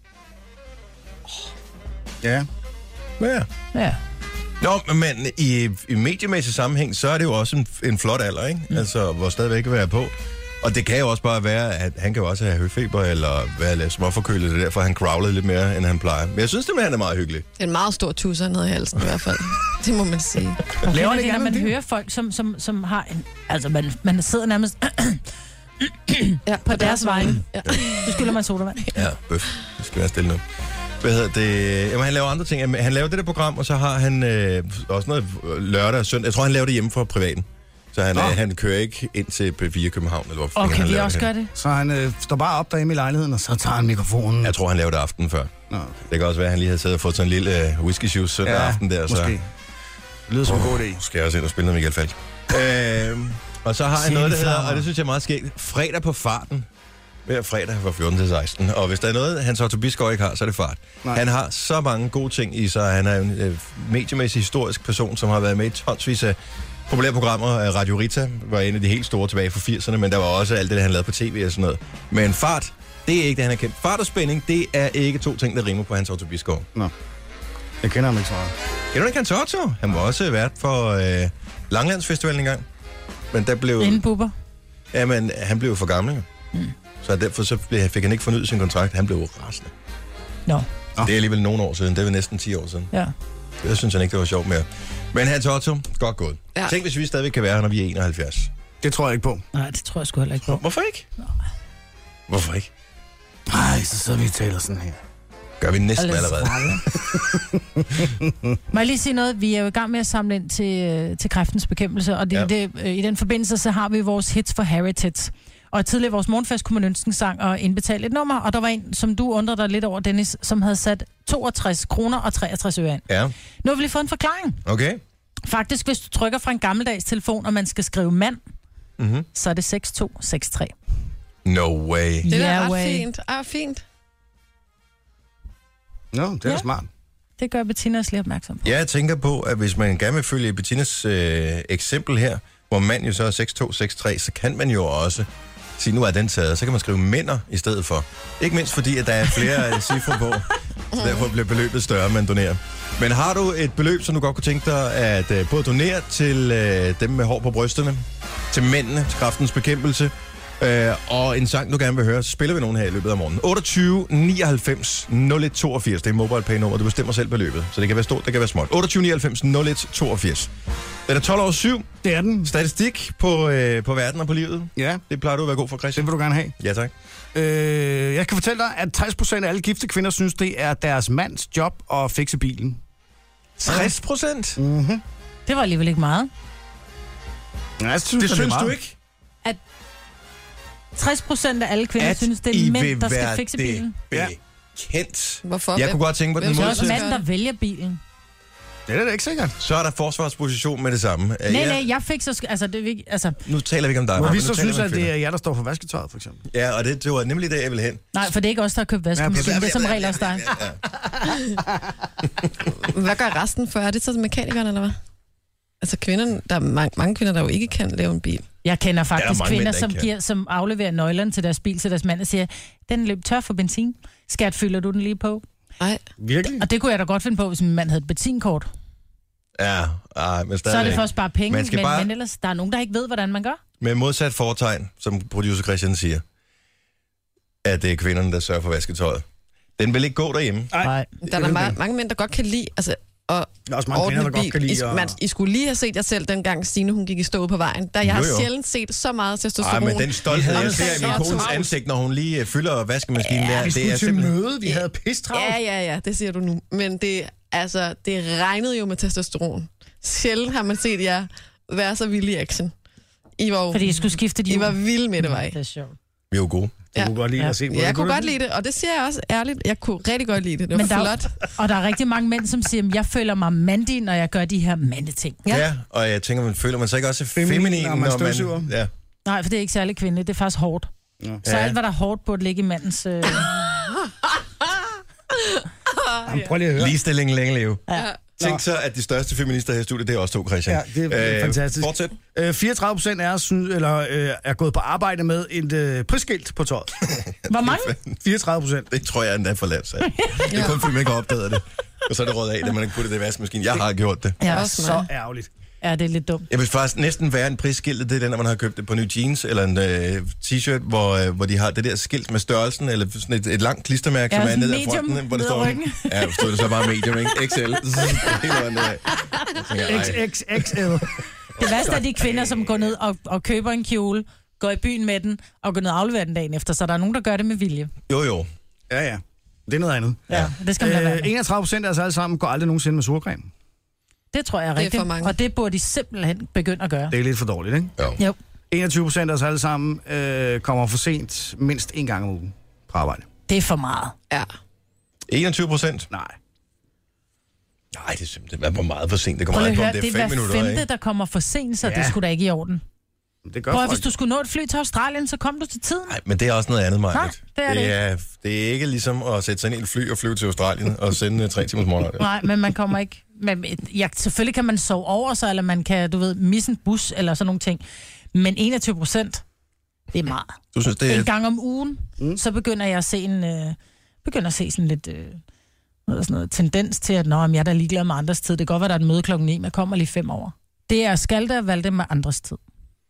Ja. Ja. Ja. Nå, men i, i mediemæssig sammenhæng, så er det jo også en, en flot alder, ikke? Mm. Altså, hvor stadigvæk kan være på. Og det kan jo også bare være, at han kan jo også have høfeber, eller være lidt småforkølet, det er derfor, han growlede lidt mere, end han plejer. Men jeg synes det han er meget hyggelig. Det er en meget stor tusse, han havde i halsen i hvert fald. Det må man sige. Og Laver Laver han det, ikke når andet man end det? hører folk, som, som, som har en... Altså, man, man sidder nærmest Ja, på deres vegne. Ja. Du skylder mig sodavand. Ja, bøf. Det skal være stille nu. Hvad hedder det? Jamen, han laver andre ting. Jamen, Han laver det der program, og så har han øh, også noget øh, lørdag og søndag. Jeg tror, han laver det hjemme fra privaten. Så han, øh, han kører ikke ind til P4 København. Eller hvor Og fanden kan han vi laver også henne. gøre det? Så han øh, står bare op derhjemme i lejligheden, og så tager han mikrofonen. Jeg tror, han laver det aftenen før. Nå, okay. Det kan også være, at han lige havde siddet og fået sådan en lille øh, whisky juice søndag ja, aften der. Så måske. Det lyder som en god idé. Nu skal jeg også ind og spille noget Michael Falk. øh, Øhm, og så har han noget, der hedder, Sjæleflammer. og det synes jeg er meget skægt, fredag på farten. Hver fredag fra 14 til 16. Og hvis der er noget, han så Tobiskov ikke har, så er det fart. Nej. Nej. Han har så mange gode ting i sig. Han er jo en øh, mediemæssig historisk person, som har været med i tonsvis af populære programmer. Øh, Radio Rita var en af de helt store tilbage fra 80'erne, men der var også alt det, han lavede på tv og sådan noget. Men fart, det er ikke det, han er kendt. Fart og spænding, det er ikke to ting, der rimer på hans Tobiskov. Nå. Jeg kender ham ikke så meget. Kender du ikke Hans Otto? Han var også vært for øh, Langlandsfestivalen engang. Men der blev, Inden buber. ja, men, han blev for gammel. Mm. Så derfor så blev- fik han ikke fornyet sin kontrakt. Han blev rasende. Nå, Oh. Det er alligevel nogle år siden. Det er vel næsten 10 år siden. ja. Jeg synes han ikke, det var sjovt mere. Men Hans Otto, godt gået. Ja. Ja. Tænk, hvis vi stadigvæk kan være her, når vi er 71. Det tror jeg ikke på. Nej, det tror jeg sgu heller ikke på. Hvorfor ikke? Hvorfor ikke? Nej, så sidder vi og taler sådan her. Gør vi næsten Alles allerede. fremme. Må jeg lige sige noget? Vi er jo i gang med at samle ind til, øh, til kræftens bekæmpelse, og det, Ja. ja. det, øh, i den forbindelse så har vi vores hits for Heritage. Og tidligere i vores morgenfest kunne man ønske en sang og indbetale et nummer, og der var en, som du undrede dig lidt over, Dennis, som havde sat 62 kroner og 63 øre ind. Ja, Nu har vi lige fået en forklaring. okay. Faktisk, hvis du trykker fra en gammeldags telefon, og man skal skrive mand, mm-hmm. så er det 6263. No way. Det er Ja, da ret way. fint. Ah, fint. Nå, det er ja. Ja. smart. Det gør Bettina os lige opmærksom på. Jeg tænker på, at hvis man gerne vil følge Bettinas øh, eksempel her, hvor mand jo så er 6263, så kan man jo også sige, nu er den taget, så kan man skrive mænder i stedet for. Ikke mindst fordi, at der er flere øh, cifre på, så derfor bliver beløbet større, man donerer. Men har du et beløb, som du godt kunne tænke dig at øh, både donere til øh, dem med hår på brysterne, til mændene, til kraftens bekæmpelse, øh, og en sang, du gerne vil høre, så spiller vi nogen her i løbet af morgenen. 28 99 01 82, det er mobile pay nummer du bestemmer selv beløbet, så det kan være stort, det kan være småt. 28 99 01 82. Den er 12 over 7, Det er den. statistik på, øh, på verden og på livet. Ja, Det plejer du at være god for, det Christian. vil du gerne have. Ja, tak. Øh, jeg kan fortælle dig, at 60% af alle gifte kvinder synes, det er deres mands job at fikse bilen. 60 procent? Det var alligevel ikke meget. Ja, jeg synes, Det er synes meget. du ikke? 60 procent af alle kvinder At synes, det I er vil mænd, der være skal fikse det bilen. Ja. Bekendt. Hvorfor? Jeg kunne godt tænke på den Hvem- Det er Hvem- også modsatte. manden, der vælger bilen. Det er da ikke sikkert. Så er der forsvarsposition med det samme. Øh, Nej, ja, nej, jeg fik så... sk- Altså, det er ikke... Altså, Nu taler vi ikke om dig. Hvor Maja, vi men så nu taler synes, vi om at det kvinder. er jer, der står for vasketøjet, for eksempel. Ja, og det, det var nemlig det, jeg ville hen. nej, for det er ikke os, der har købt vaskemaskinen. Ja, Det er som regel også dig. Mm. Hvad gør resten for? Er det så mekanikeren, eller hvad? Altså kvinderne, der er mange, mange kvinder, der jo ikke kan lave en bil. Jeg kender Ja, der er faktisk mange kvinder, mænd, der som, ikke kan. giver, som afleverer nøglerne til deres bil til deres mand og siger, den løb tør for benzin. Skat, fylder du den lige på? Nej. Virkelig? Og det kunne jeg da godt finde på, hvis min mand havde et benzinkort. Ja, ej, men stadig. Så er det for at spare penge, Man skal men, bare- bare... men ellers, der er nogen, der ikke ved, hvordan man gør. Med modsat foretegn, som producer Christian siger, at det er kvinderne, der sørger for vasketøjet. Den vil ikke gå derhjemme. Nej. Nej. Der er der mange, mange mænd, der godt kan lide altså, at Der er også mange kvinder, ordne der godt kan bil. I, lide. Og... man, I skulle lige have set jer selv, dengang Stine hun gik i stå på vejen. Der, jeg Jo, har jo. sjældent set så meget Nej, testosteron. men den stolthed, jeg ser i min Omkring kones Otto. ansigt, når hun lige øh, fylder vaskemaskinen der, Vi det skulle er til simpelthen... møde, vi havde pistravl. Ja, ja, ja, det siger du nu. Men det, altså, det regnede jo med testosteron. Sjældent har man set jer være så vilde i action. I var, jo, Fordi jeg skulle skifte de I var hjul. vilde med det, var I? Det er sjovt. Vi er jo gode. Du kunne godt lide Ja. at se på Ja, jeg kunne godt lide det, og det siger jeg også ærligt. Jeg kunne rigtig godt lide det. Det var Men der, er flot. jo- og der er rigtig mange mænd, som siger, at jeg føler mig mandig, når jeg gør de her mandeting. Ja. Ja. ja, og jeg tænker, man føler man sig ikke også Feminin, feminin, når man støvsuger. Ja. Nej, for det er ikke særlig kvindeligt. Det er faktisk hårdt. Ja. Så Ja. alt, hvad der er hårdt, burde ligge i mandens... Ah, Øh... Jamen, prøv lige at høre. Ligestilling længe leve. Ja. Tænk så, at de største feminister her i studiet, det er også to, Christian. Ja, det er øh, fantastisk. Fortsæt. Øh, 34 procent er, sny- eller, øh, er gået på arbejde med et øh, prisskilt på tøjet. Hvor mange? 34 procent. Det tror jeg endda er for lavt sat. Det er kun, fordi man ikke har opdaget det. Og så er det råd af, at man ikke putter det i vaskemaskinen. Jeg har gjort det. Ja, Også Så ærgerligt. ja, det er lidt dumt. Jeg vil faktisk næsten være en prisskilt, det er den, når man har købt det på nye jeans, eller en øh, t-shirt, hvor, øh, hvor de har det der skilt med størrelsen, eller sådan et, et langt klistermærke, Ja, som er sådan nede af medium fronten, hvor det ned ad står... ryggen. Ja, stod det så bare medium, ikke? XL. Helt vejen nedad. Jeg tænker, ej. XXXL. Det værste er de kvinder, som går ned og, og køber en kjole, går i byen med den, og går ned og afleverer den dagen efter, så der er nogen, der gør det med vilje. Jo, jo. Ja, ja. Det er noget andet. Ja. Det skal man lade være Øh, med. 31 procent af os alle sammen går aldrig nogensinde med surcreme. Det tror jeg er Det er rigtigt, for mange. og det burde de simpelthen begynde at gøre. Det er lidt for dårligt, ikke? jo. Jo. 21 procent af os alle sammen øh, kommer for sent mindst en gang om ugen på arbejde. Det er for meget. Ja. 21 procent? Nej. Nej, det er simpelthen... Hvad, hvor meget for sent det kommer Prøv lige an at på, høre, om det er det fem er hver minutter, femte, ikke? der kommer for sent, så Ja. ja. det skulle da ikke i orden. Det gør Prøv, at, folk. hvis du skulle nå et fly til Australien, så kom du til tiden. Nej, men det er også noget andet, Maja. Nej, det er det ikke. er, det er ikke ligesom at sætte sig ind i et fly og flyve til Australien og sende øh, tre timers morgen. Nej, men man kommer ikke... Men, ja, selvfølgelig kan man sove over sig, eller man kan, du ved, misse en bus, eller sådan nogle ting. Men 21 procent, det er meget. Du synes, det En er... gang om ugen, mm. så begynder jeg at se en... Øh, begynder at se sådan lidt... Øh, hvad er sådan noget, tendens til, at Nå, men jeg er da ligeglad med andres tid. Det kan godt være, der er et møde klokken 9, men jeg kommer lige fem over. Det er skalter og valgte med andres tid.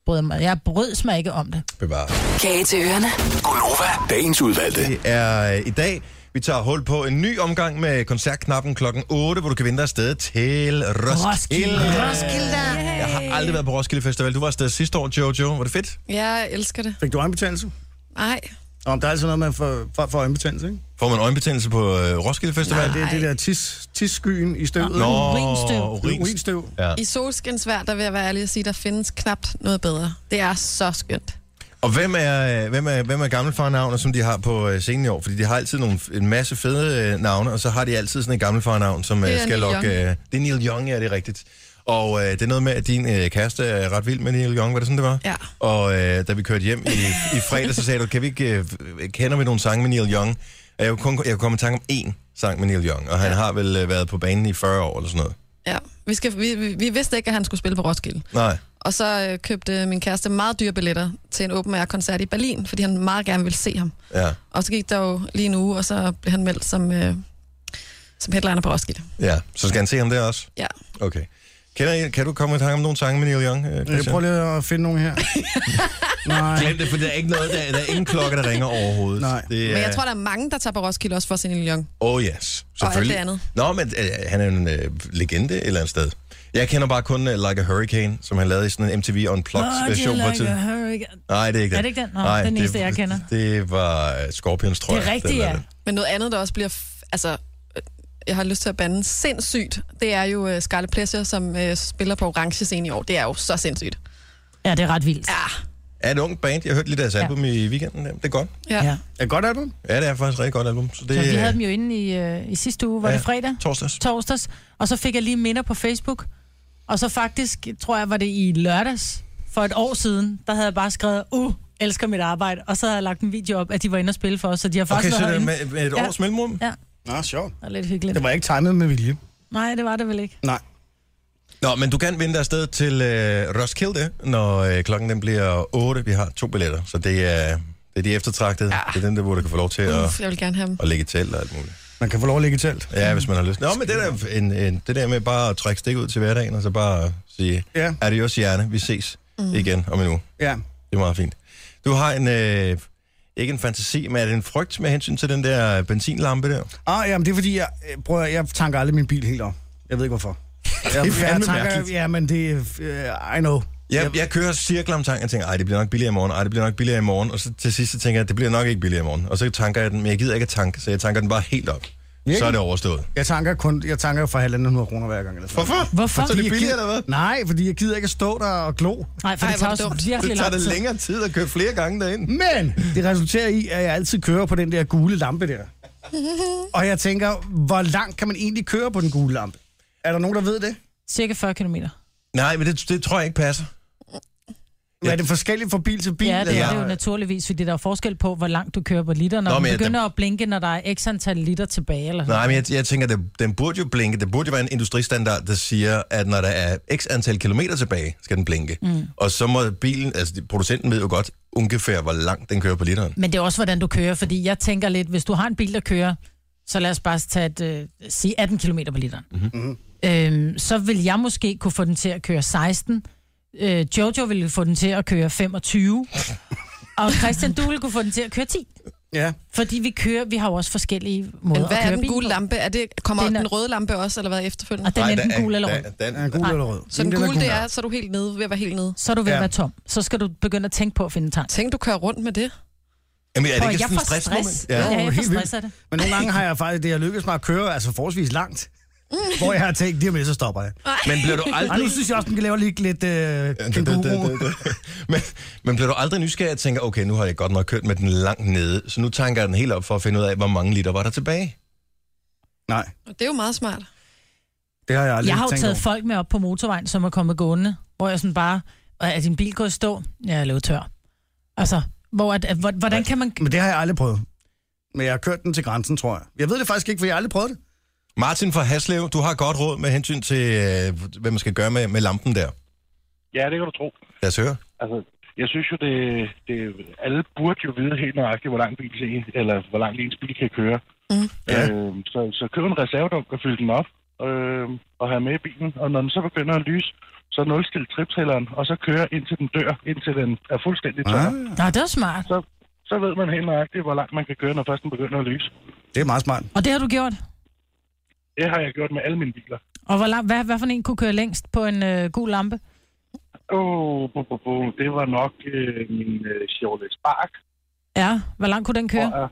Brød mig. Jeg brød mig ikke om det. Bevaret. Kage til ørerne. Gonova, dagens udvalgte. Det er øh, i dag. Vi tager hul på en ny omgang med koncertknappen klokken 8, hvor du kan vinde dig afsted til Roskilde. Roskilde. Roskilde. Jeg har aldrig været på Roskilde Festival. Du var afsted sidste år, Jojo. Var det fedt? ja, jeg elsker det. Fik du øjenbetændelse? Nej. Om der er altid noget med for, for, for øjenbetændelse, ikke? Får man øjenbetændelse på øh, Roskilde Festival? Det er det der tis, tisskyen i støvet. Nå, Urinstøv. urinstøv. Urinstøv. Ja. I solskinsvær, der vil jeg være ærlig at sige, der findes knapt noget bedre. Det er så skønt. Og hvem er, øh, hvem er, hvem er gammelfarnavner, som de har på øh, scenen i år? Fordi de har altid nogle, en masse fede øh, navne, og så har de altid sådan et gammelfarnavn, som Det øh, er skal Neil lokke... Young. Øh, det er Neil Young, ja, det er rigtigt. Og øh, det er noget med, at din øh, kæreste er ret vild med Neil Young, var det sådan, det var? Ja. Og øh, da vi kørte hjem i, i fredag, så sagde du, kan vi ikke, øh, kender vi nogle sange med Neil Young? Og Jeg kunne, kun, jeg kunne komme i tanke om én sang med Neil Young, og han ja. har vel øh, været på banen i 40 år eller sådan noget. Ja. Vi, skal, vi, vi, vi vidste ikke, at han skulle spille på Roskilde. Nej. Og så øh, købte min kæreste meget dyre billetter til en open air-koncert i Berlin, fordi han meget gerne ville se ham. Ja. Og så gik der jo lige en uge, og så blev han meldt som, øh, som headliner på Roskilde. ja. Så skal han se ham der også? Ja. Okay. Kender, I- kan du komme i tanke om nogle sange med Neil Young? øh, Jeg Christian? prøver lige at finde nogen her. Nej. Glem det, for der er ikke noget, der, der er ingen klokke, der ringer overhovedet. Nej. Det er, Men jeg tror, der er mange, der tager på Roskilde også for sin lille Young. Oh yes, selvfølgelig. det andet. Nå, men øh, han er en øh, legende et eller andet sted. Jeg kender bare kun uh, Like a Hurricane, som han lavede i sådan en MTV Unplugged version på tid. Nej, det er ikke den. Er det ikke den? Nå, den eneste, jeg kender. Det var øh, Scorpions, tror Det jeg. er rigtigt, den er ja. det. Men noget andet, der også bliver... F- altså, øh, jeg har lyst til at bande sindssygt, det er jo øh, Scarlett Pleasure, som øh, spiller på Orange Scene i år. Det er jo så sindssygt. Ja, det er ret vildt. Ja. Er et ungt band. Jeg hørte lidt af deres Ja. album i weekenden. Det er godt. Ja. Ja. ja. Er det godt album? Ja, det er faktisk et rigtig godt album. Så det, Så vi øh, havde dem jo inde i, øh, i sidste uge, var ja, det fredag? Torsdags. Torsdags. Og så fik jeg lige minder på Facebook. Og så faktisk, tror jeg, var det i lørdags for et år siden, der havde jeg bare skrevet, uh, elsker mit arbejde. Og så havde jeg lagt en video op, at de var inde og spille for os, så de har Okay, faktisk så været det er herinde. med, med et Ja. års mellemrum. Ja, Nå, sjovt. det er lidt hyggeligt. Det var ikke timet med vilje. Nej, det var det vel ikke. Nej. Nå, men du kan vinde dig afsted til øh, Roskilde, når øh, klokken den bliver 8. Vi har to billetter, så det er, det er de eftertragtede. Ja. Det er dem, der, hvor du kan få lov til at, Uf, jeg vil gerne have dem. at lægge i telt og alt muligt. Man kan få lov at ligge i telt. Ja, hvis man har lyst. Nå, men det der, en, en, det der med bare at trække stik ud til hverdagen, og så bare sige, Ja. er det jo hjerne, vi ses mm. igen om en uge. Ja. Det er meget fint. Du har en, øh, ikke en fantasi, men er det en frygt med hensyn til den der benzinlampe der? Ah, jamen, det er fordi, jeg, øh, prøv, at- jeg tanker aldrig min bil helt op. Jeg ved ikke, hvorfor. Jeg, fandme jeg tanker, mærkeligt. ja, men det er... øh, I know. Jeg, jeg kører cirkler om tanken, og tænker, ej, det bliver nok billigere i morgen, ej, det bliver nok billigere i morgen, og så til sidst så tænker jeg, det bliver nok ikke billigere i morgen, og så tanker jeg den, men jeg gider ikke at tanke, så jeg tanker den bare helt op. Virkelig? Så er det overstået. Jeg tanker kun, jeg tanker for halvanden hundrede kroner hver gang. Eller sådan. Hvorfor? Hvorfor? Så er det billigere, eller hvad? Nej, fordi jeg gider ikke at stå der og glo. Nej, for Ej, det hvor tager også dumt. virkelig Det tager lang det tid. længere tid at køre flere gange derind. Men det resulterer i, at jeg altid kører på den der gule lampe der. Og jeg tænker, hvor langt kan man egentlig køre på den gule lampe? Er der nogen, der ved det? Cirka 40 kilometer. Nej, men det, det tror jeg ikke passer. Er det forskelligt fra bil til bil? Ja, det er det eller? jo naturligvis, fordi der er forskel på, hvor langt du kører på liter. Når Nå, Nå, men man jeg- begynder at blinke, når der er x antal liter tilbage. Eller sådan. Nej, men jeg, jeg tænker, det, den burde jo blinke. Det burde jo være en industristandard, der siger, at når der er x antal kilometer tilbage, skal den blinke. Mm. Og så må bilen, altså de- producenten ved jo godt ungefær, hvor langt den kører på literen. Men det er også, hvordan du kører, fordi jeg tænker lidt, hvis du har en bil, der kører, så lad os bare tage et, øh, sige 18 km på literen. Mm-hmm. Øhm, så vil jeg måske kunne få den til at køre 16. Øh, Jojo ville få den til at køre 25. og Christian, du ville kunne få den til at køre 10. Ja. Fordi vi kører, vi har jo også forskellige måder Men hvad at er køre den bil gule på. lampe? Er det, kommer Den den, er- røde lampe også, eller hvad efterfølgende? Og den er enten gul eller rød. Den, Er den, gul eller rød? Så den gule, det er, så er du helt nede, ved at være helt nede. Så er du ved Ja. at være tom. Så skal du begynde at tænke på at finde en tank. Tænk, du kører rundt med det. jamen, er det Prøv, ikke jeg sådan en får stress? stress. Ja. Ja, Jo, jeg får helt vildt. stress af det. Men nogle gange har jeg faktisk, det har lykkedes mig at køre altså forholdsvis langt. Mm. Hvor jeg har tænkt, lige om lidt, så stopper jeg. Men bliver du Og aldrig... nu synes jeg også, den kan lave lige lidt øh, Ja, det- det- det- kænguru. det- det. men, men bliver du aldrig nysgerrig og tænker, okay, nu har jeg godt nok kørt med den langt nede, så nu tanker jeg den helt op for at finde ud af, hvor mange liter var der tilbage? Nej, Og det er jo meget smart. det har jeg aldrig Jeg har jo tænkt taget over. folk med op på motorvejen, som er kommet gående, hvor jeg sådan bare, "Og er din bil gået i stå? Ja, jeg er løbet tør. Altså, hvor at, at, hvor- hvordan kan man... Men det har jeg aldrig prøvet. Men jeg har kørt den til grænsen, tror jeg. Jeg ved det faktisk ikke, for jeg har aldrig prøvet det. Martin fra Haslev, du har godt råd med hensyn til, øh, hvad man skal gøre med, med lampen der. Ja, det kan du tro. Lad os høre. Altså, jeg synes jo, det, det, alle burde jo vide helt nøjagtigt, hvor lang bil en, eller hvor langt ens bil kan køre. Mm. Ja. Øh, så, så køb en reservedunk og fyld den op øh, og have med i bilen. Og når den så begynder at lyse, så nulstil triptælleren, og så køre indtil den dør, indtil den er fuldstændig tør. Ah, Nå, det er jo smart. Så, så ved man helt nøjagtigt, hvor langt man kan køre, når først den begynder at lyse. det er meget smart. Og det har du gjort. Det har jeg gjort med alle mine biler. Og hvor lang, hvad, hvad for en kunne køre længst på en øh, gul lampe? Åh, bo, bo, bo. det var nok øh, min øh, Chevrolet Spark, Ja, hvor langt kunne den tror køre? jeg.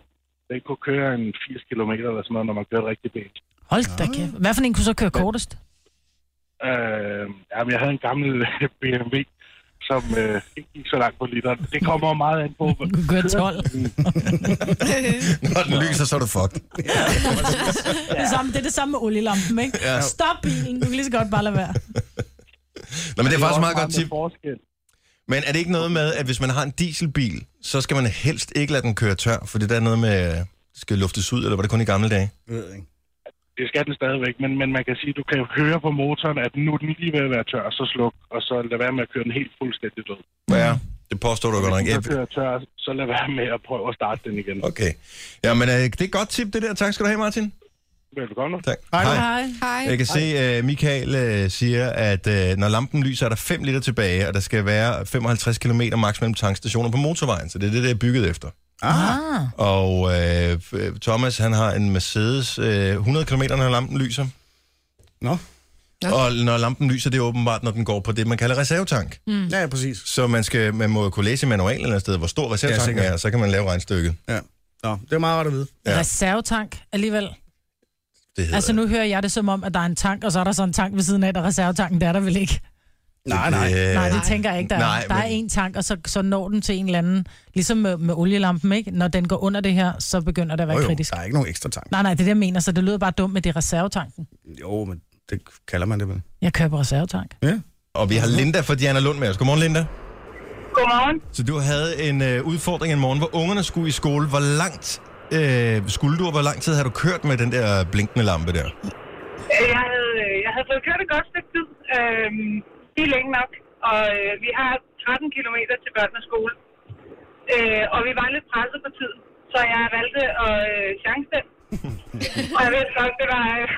Den kunne køre en 80 km eller sådan noget, når man kørte rigtig pænt. Hold da kæft. Hvad for en kunne så køre kortest? Øh, jamen, jeg havde en gammel øh, BMW, som øh, ikke gik så langt på literen. Det kommer jo meget an på. hvor- Du kunne køre 12. Når den lyser, så er du fucked. Det, samme, det er det samme med olielampen, ikke? Ja. Stop bilen, du kan lige så godt bare lade være. Nå, men det er faktisk også meget godt med tip. forskel. Men er det ikke noget med, at hvis man har en dieselbil, så skal man helst ikke lade den køre tør, for det der er noget med, øh, det skal luftes ud, eller var det kun i gamle dage? Jeg ved ikke. Det skal den stadigvæk, men, men man kan sige, at du kan jo høre på motoren, at nu er den lige ved at være tør, så sluk, og så lad være med at køre den helt fuldstændig død. Ja, det påstår du godt nok. Hvis Ja, den så kører tør, så lad være med at prøve at starte den igen. Okay. Ja, men øh, det er et godt tip, det der. Tak skal du have, Martin. Velkommen. Tak. Hej. Hej. Jeg kan se, uh, Michael uh, siger, at uh, når lampen lyser, er der 5 liter tilbage, og der skal være 55 km maks mellem tankstationer på motorvejen, så det er det, der er bygget efter. Ah, Og uh, Thomas, han har en Mercedes uh, 100 km, når lampen lyser. Nå, Ja. Og når lampen lyser, det er åbenbart, når den går på det, man kalder reservetank. mm. ja, ja, præcis. Så man, skal, man må jo kunne læse i manualen et eller andet sted, hvor stor reservetanken sikkert. er, og så kan man lave regnstykket. Ja. Nå, det er meget rart at vide. Ja. reservetank alligevel. Det hedder Altså nu hører jeg det som om, at der er en tank, og så er der så en tank ved siden af, der er reservetanken, der er der vel ikke. Nej, nej. Øh, Nej, det tænker jeg ikke, der er. Nej, der er men- en tank, og så, så når den til en eller anden, ligesom med, med olielampen, ikke? Når den går under det her, så begynder det at være Jo, oh, jo, kritisk. der er ikke nogen ekstra tank. Nej, nej, det er det, jeg mener, så det lyder bare dumt med det er reservetanken. Jo, men det kalder man det vel. Jeg køber reservetank. Ja. Og vi Mhm. har Linda fra Diana Lund med os. Godmorgen, Linda. Godmorgen. Så du havde en øh, udfordring en morgen, hvor ungerne skulle i skole. Hvor langt øh, skulle du, og hvor lang tid har du kørt med den der blinkende lampe der? Øh, Jeg havde, øh, jeg havde fået kørt et godt stykke tid. Øhm, det er længe nok. Og øh, vi har 13 km til børnenes skole. Øh, og vi var lidt presset på tiden. Så jeg valgte at øh, chance den. og jeg ved godt, det var, øh,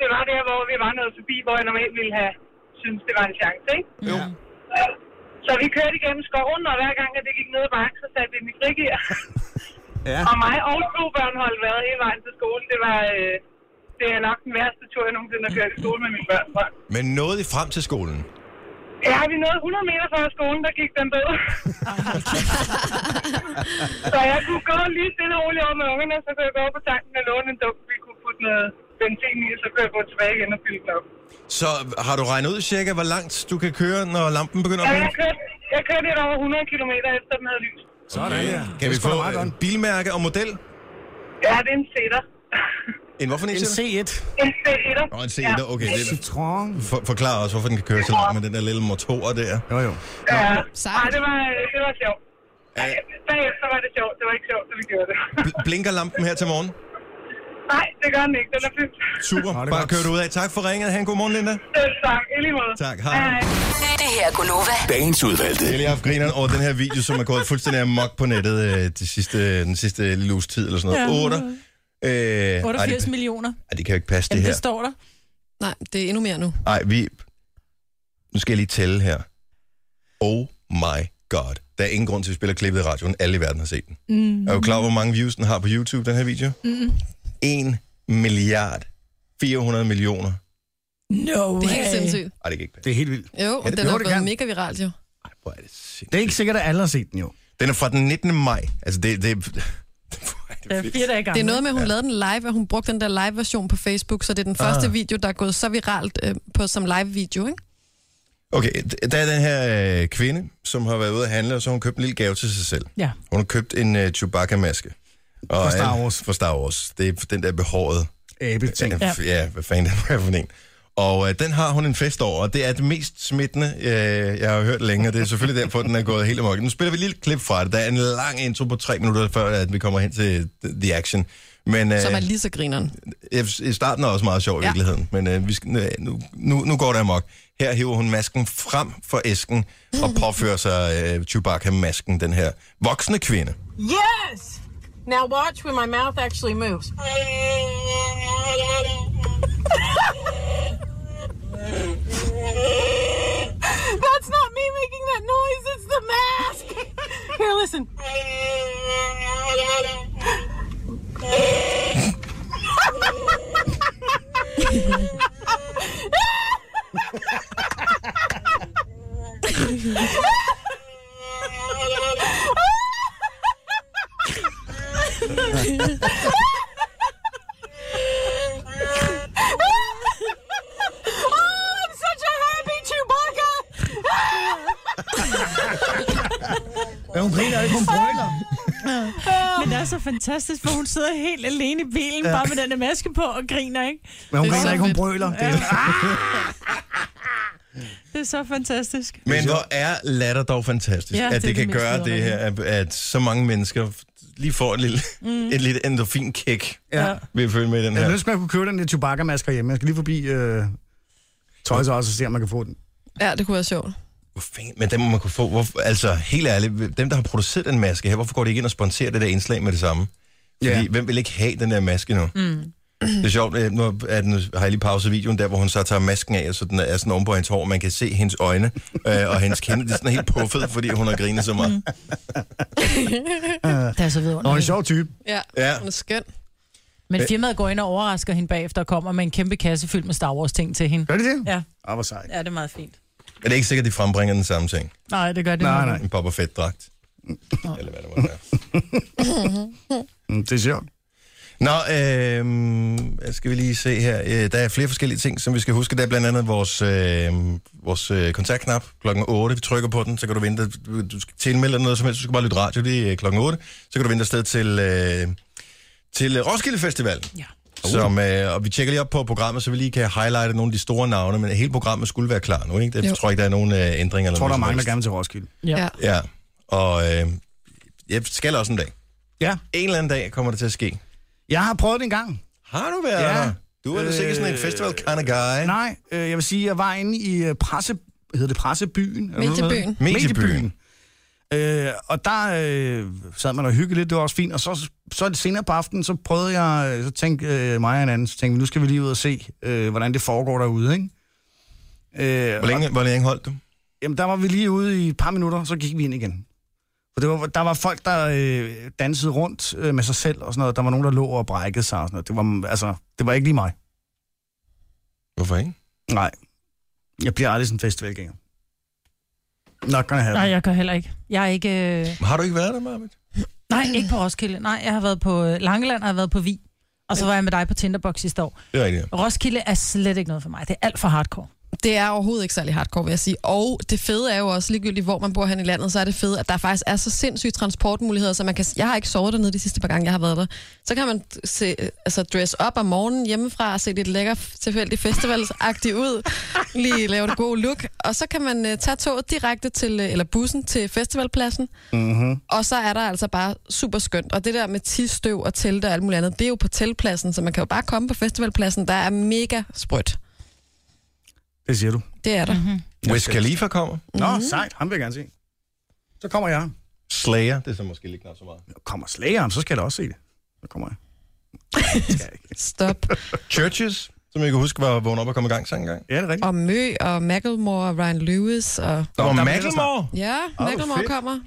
det var der, hvor vi var nået forbi, hvor jeg normalt ville have synes det var en chance. Ikke? Jo. Så vi kørte igennem skoven, og hver gang, at det gik ned ad bakken, så satte vi den i frigear. Ja. Og mig og to børn holdt vejret hele vejen til skolen. Det var øh, det er nok den værste tur, jeg nogensinde har kørt i skole med mine børn. fra. Men nåede I frem til skolen? Ja, vi nåede 100 meter før skolen, der gik den død. så jeg kunne gå lige stille og roligt over med ungerne, så kunne jeg gå over på tanken og låne en dunk, vi kunne putte noget benzin i, og så kunne jeg gå tilbage igen og fylde den op. Så har du regnet ud cirka, hvor langt du kan køre, når lampen begynder Ja, at jeg blinke? kørte, jeg kørte lidt over 100 km efter den havde lyst. Sådan, ja. Kan vi Det er sgu da få meget øh, godt. bilmærke og model? Ja, det er en sætter. En hvorfor en, En C1. En C1'er. Nå, en C1, ja. okay. Det Citron. For, forklar også, hvorfor den kan køre så langt med den der lille motor der. Jo, jo. Ja. Ej, det var, øh, det var sjovt. Ej, Bagefter var det sjovt. Det var ikke sjovt, da vi gjorde det. Bl- blinker lampen her til morgen? Nej, det gør den ikke. Den er fyldt. Super. Nå, det er Bare godt. kør du ud af. Tak for ringet. Ha' en god morgen, Linda. Selv tak. I lige måde. Tak. Hej. Det her er Gunova. Dagens udvalgte. Jeg har lige haft grineren over den her video, som er gået fuldstændig amok på nettet øh, de sidste, den sidste lille uges tid, eller sådan noget. 8. Ja. Øh, ej, 88 det, millioner. ej, det kan jo ikke passe, det Jamen, det her. står der. Nej, det er endnu mere nu. Ej, vi... Nu skal jeg lige tælle her. Oh my god. Der er ingen grund til, at vi spiller klippet i radioen. Alle i verden har set den. Mm. Er du klar over, hvor mange views den har på YouTube, den her video? Mm. Mm-hmm. 1 milliard 400 millioner. No Det er helt sindssygt. Ej, det kan ikke passe. Det er helt vildt. Jo, og det den er behøver det blevet gerne. mega viralt jo. Ej, hvor er det sindssygt. Det er ikke sikkert, at alle har set den jo. Den er fra den 19. maj. Altså, det... det, det hvor er Det er vildt. fire dage Det gammel. er noget med, at hun lavede den live, og hun brugte den der live-version på Facebook, så det er Ah. den første video, der er gået så viralt øh, på som live-video, ikke? Okay, d- der er den her øh, kvinde, som har været ude at handle, og så har hun købt en lille gave til sig selv. Ja. Hun har købt en øh, Chewbacca-maske. Og Fra Star alt- Wars. Fra Star Wars. Det er den der behåret. Æble ting. Ja. ja, hvad fanden det er for en. Og øh, den har hun en fest over, og det er det mest smittende, øh, jeg har hørt længe, og det er selvfølgelig derfor, den er gået helt amok. Nu spiller vi et lille klip fra det. Der er en lang intro på tre minutter, før at vi kommer hen til the action. Men, øh, Som er lige så grineren. i starten er også meget sjov i Ja. virkeligheden, men øh, vi skal, øh, nu, nu, nu går det amok. Her hiver hun masken frem for æsken og påfører sig øh, Chewbacca-masken, den her voksne kvinde. Yes! Now watch when my mouth actually moves. That's not me making that noise, it's the mask! Here, listen. Oh, I'm such a happy Chewbacca! Ja, hun griner ikke, hun brøler. Men det er så fantastisk, for hun sidder helt alene i bilen, bare med den der maske på og griner, ikke? Men hun Det er griner så ikke, hun fedt. brøler. Det er, Det er så fantastisk. Men hvor er latter dog fantastisk, Ja, ja, det er at det, det det kan mest gøre det her, at, at så mange mennesker lige får et lille, mm. et lille endorfin-kick, ja. vil jeg følge med i den Jeg har her. lyst til, at jeg kunne købe den der Chewbacca-maske hjemme. Jeg skal lige forbi øh, Toys R Us og se, om man kan få den. Ja, det kunne være sjovt. Hvor fanden, men den må man kunne få. Hvor, altså, helt ærligt, dem, der har produceret den maske her, hvorfor går de ikke ind og sponsorer det der indslag med det samme? Fordi Ja. hvem vil ikke have den der maske nu? Mm. Det er sjovt, øh, nu er den, har jeg lige pauset videoen der, hvor hun så tager masken af, og så den er sådan oven på hendes hår, og man kan se hendes øjne øh, og hendes kinde. Det er sådan helt puffet, fordi hun har grinet så meget. Mm. Det er Nå, så en vidunderligt. sjov type. Ja, Ja. hun er skøn. Men firmaet går ind og overrasker hende bagefter og kommer med en kæmpe kasse fyldt med Star Wars-ting til hende. Gør de det? Ja, Ah, hvor sejt. ja det er meget fint. Men det er ikke sikkert, at de frembringer den samme ting. Nej, det gør det Nej, nok nej. En Boba Fett-dragt. Eller hvad det var. Der. Mm, Det er sjovt. Nå, øh, skal vi lige se her. Øh, der er flere forskellige ting, som vi skal huske. Der er blandt andet vores, øh, vores øh, kontaktknap klokken 8. Vi trykker på den, så kan du vente. Du, du skal tilmelde dig noget som helst. Du skal bare lytte radio lige øh, klokken 8. Så kan du vente afsted til, øh, til øh, Roskilde Festivalen. Ja. Som, øh, og vi tjekker lige op på programmet, så vi lige kan highlighte nogle af de store navne, men hele programmet skulle være klar nu, ikke? Det, Jo. jeg tror ikke, der er nogen øh, ændringer. Jeg tror, der er mange, der gerne vil til Roskilde. Ja. Ja. Ja, og øh, jeg skal også en dag. Ja. En eller anden dag kommer det til at ske. Jeg har prøvet det en gang. Har du været Ja. der? Du er øh... sikkert sådan en festival kind of guy. Nej, øh, jeg vil sige, jeg var inde i øh, presse, hedder det pressebyen? Er der noget, der hedder det? Mediebyen. Mediebyen. Øh, og der øh, sad man og hyggede lidt, det var også fint. Og så, så det senere på aftenen, så prøvede jeg, øh, så tænkte øh, mig og en anden, så tænkte vi, nu skal vi lige ud og se, øh, hvordan det foregår derude, ikke? Øh, Hvor længe, hvor længe holdt du? Jamen, der var vi lige ude i et par minutter, så gik vi ind igen. For det var, der var folk, der øh, dansede rundt øh, med sig selv og sådan noget. Der var nogen, der lå og brækkede sig og sådan noget. Det var, altså, det var ikke lige mig. Hvorfor ikke? Nej. Jeg bliver aldrig sådan en festivalgænger. Not gonna happen. Nej, jeg gør heller ikke. Jeg er ikke... Øh... Men Har du ikke været der, Marvind? Nej, ikke på Roskilde. Nej, jeg har været på øh, Langeland, og jeg har været på Vi. Og så var jeg med dig på Tinderbox sidste år. Det er rigtigt. Roskilde er slet ikke noget for mig. Det er alt for hardcore. Det er overhovedet ikke særlig hardcore, vil jeg sige. Og det fede er jo også, ligegyldigt hvor man bor hen i landet, så er det fede, at der faktisk er så sindssyge transportmuligheder, så man kan... Jeg har ikke sovet dernede de sidste par gange, jeg har været der. Så kan man se, altså dress op om morgenen hjemmefra og se lidt lækker tilfældig festivalsagtigt ud. Lige lave det gode look. Og så kan man uh, tage toget direkte til, uh, eller bussen til festivalpladsen. Mm-hmm. Og så er der altså bare super skønt. Og det der med tisstøv og telte og alt muligt andet, det er jo på teltpladsen, så man kan jo bare komme på festivalpladsen. Der er mega sprødt. Det siger du. Det er der. Mm-hmm. Wiz Khalifa kommer. Nå, Mhm. mm-hmm. sejt. Ham vil jeg gerne se. Så kommer jeg. Slayer, det er så måske lige knap så meget. Kommer Slayer, så skal jeg da også se det. Så kommer jeg. Stop. Churches, som jeg kan huske var vågnet op og komme i gang så engang. Ja, det er rigtigt. Og Mø og Macklemore og Ryan Lewis. Og, Nå, og Macklemore? Ja, Åh, Macklemore fedt. kommer.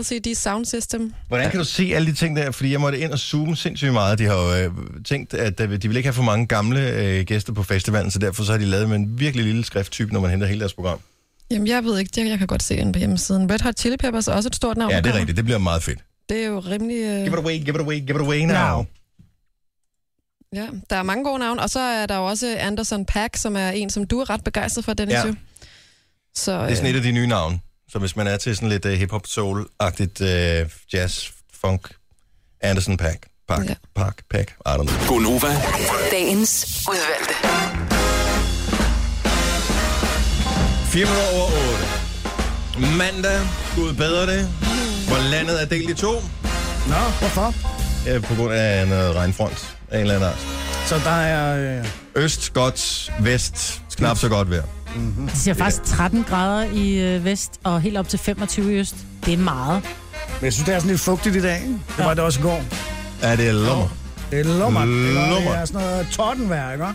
LCD Sound System. Hvordan kan du se alle de ting der? Fordi jeg måtte ind og zoome sindssygt meget. De har jo øh, tænkt, at øh, de vil ikke have for mange gamle øh, gæster på festivalen, så derfor så har de lavet med en virkelig lille skrifttype, når man henter hele deres program. Jamen, jeg ved ikke, jeg, jeg kan godt se den på hjemmesiden. Red Hot Chili Peppers er også et stort navn. Ja, der det er kommer. rigtigt. Det bliver meget fedt. Det er jo rimelig... Øh... Give it away, give it away, give it away now. Ja, der er mange gode navne, og så er der jo også Anderson Pack, som er en, som du er ret begejstret for, Dennis. Ja. Ja. Så, Det er sådan et af de nye navne. Så hvis man er til sådan lidt uh, hip-hop, soul-agtigt uh, jazz, funk, Anderson Pack, Park, Ja. Park, Pack, I don't know. Gonova. Dagens udvalgte. 4 minutter over 8. Mandag, Gud bedre det. Hvor landet er delt i to. Nå, hvorfor? Ja, på grund af noget regnfront af en eller anden art. Så der er... Øh... Øst godt, vest knap så godt vejr. Mhm. De siger faktisk 13 grader i øh, vest og helt op til 25 i øst. Det er meget. Men jeg synes, det er sådan lidt fugtigt i dag. ikke? Det var det også i går. Er det lommer? Det er lummert. Det var- Lummert. Det er sådan noget tordenvejr, ikke?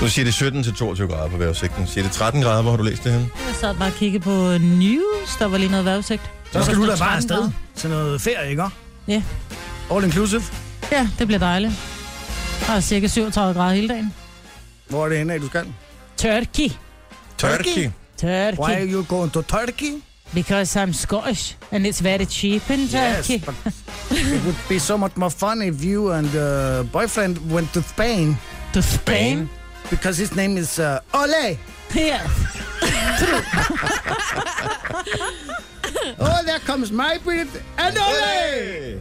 Nu siger det 17 til 22 grader på vejrudsigten. Siger det 13 grader, hvor har du læst det henne? Jeg sad bare og kiggede på news. Der var lige noget vejrudsigt. Så skal du da bare 13 afsted grader. til noget ferie, ikke? Ja. All inclusive. Ja, det bliver dejligt. Der er cirka 37 grader hele dagen. Hvor er det henne, af, du skal? Turkey. Turkey. Why Turkey. are you going to Turkey? Because I'm Scottish, and it's very cheap in Turkey. but it would be so much more fun if you and uh, boyfriend went to Spain. To Spain? Because his name is uh, Ole. Yeah. Oh, there comes my Brit and Ole!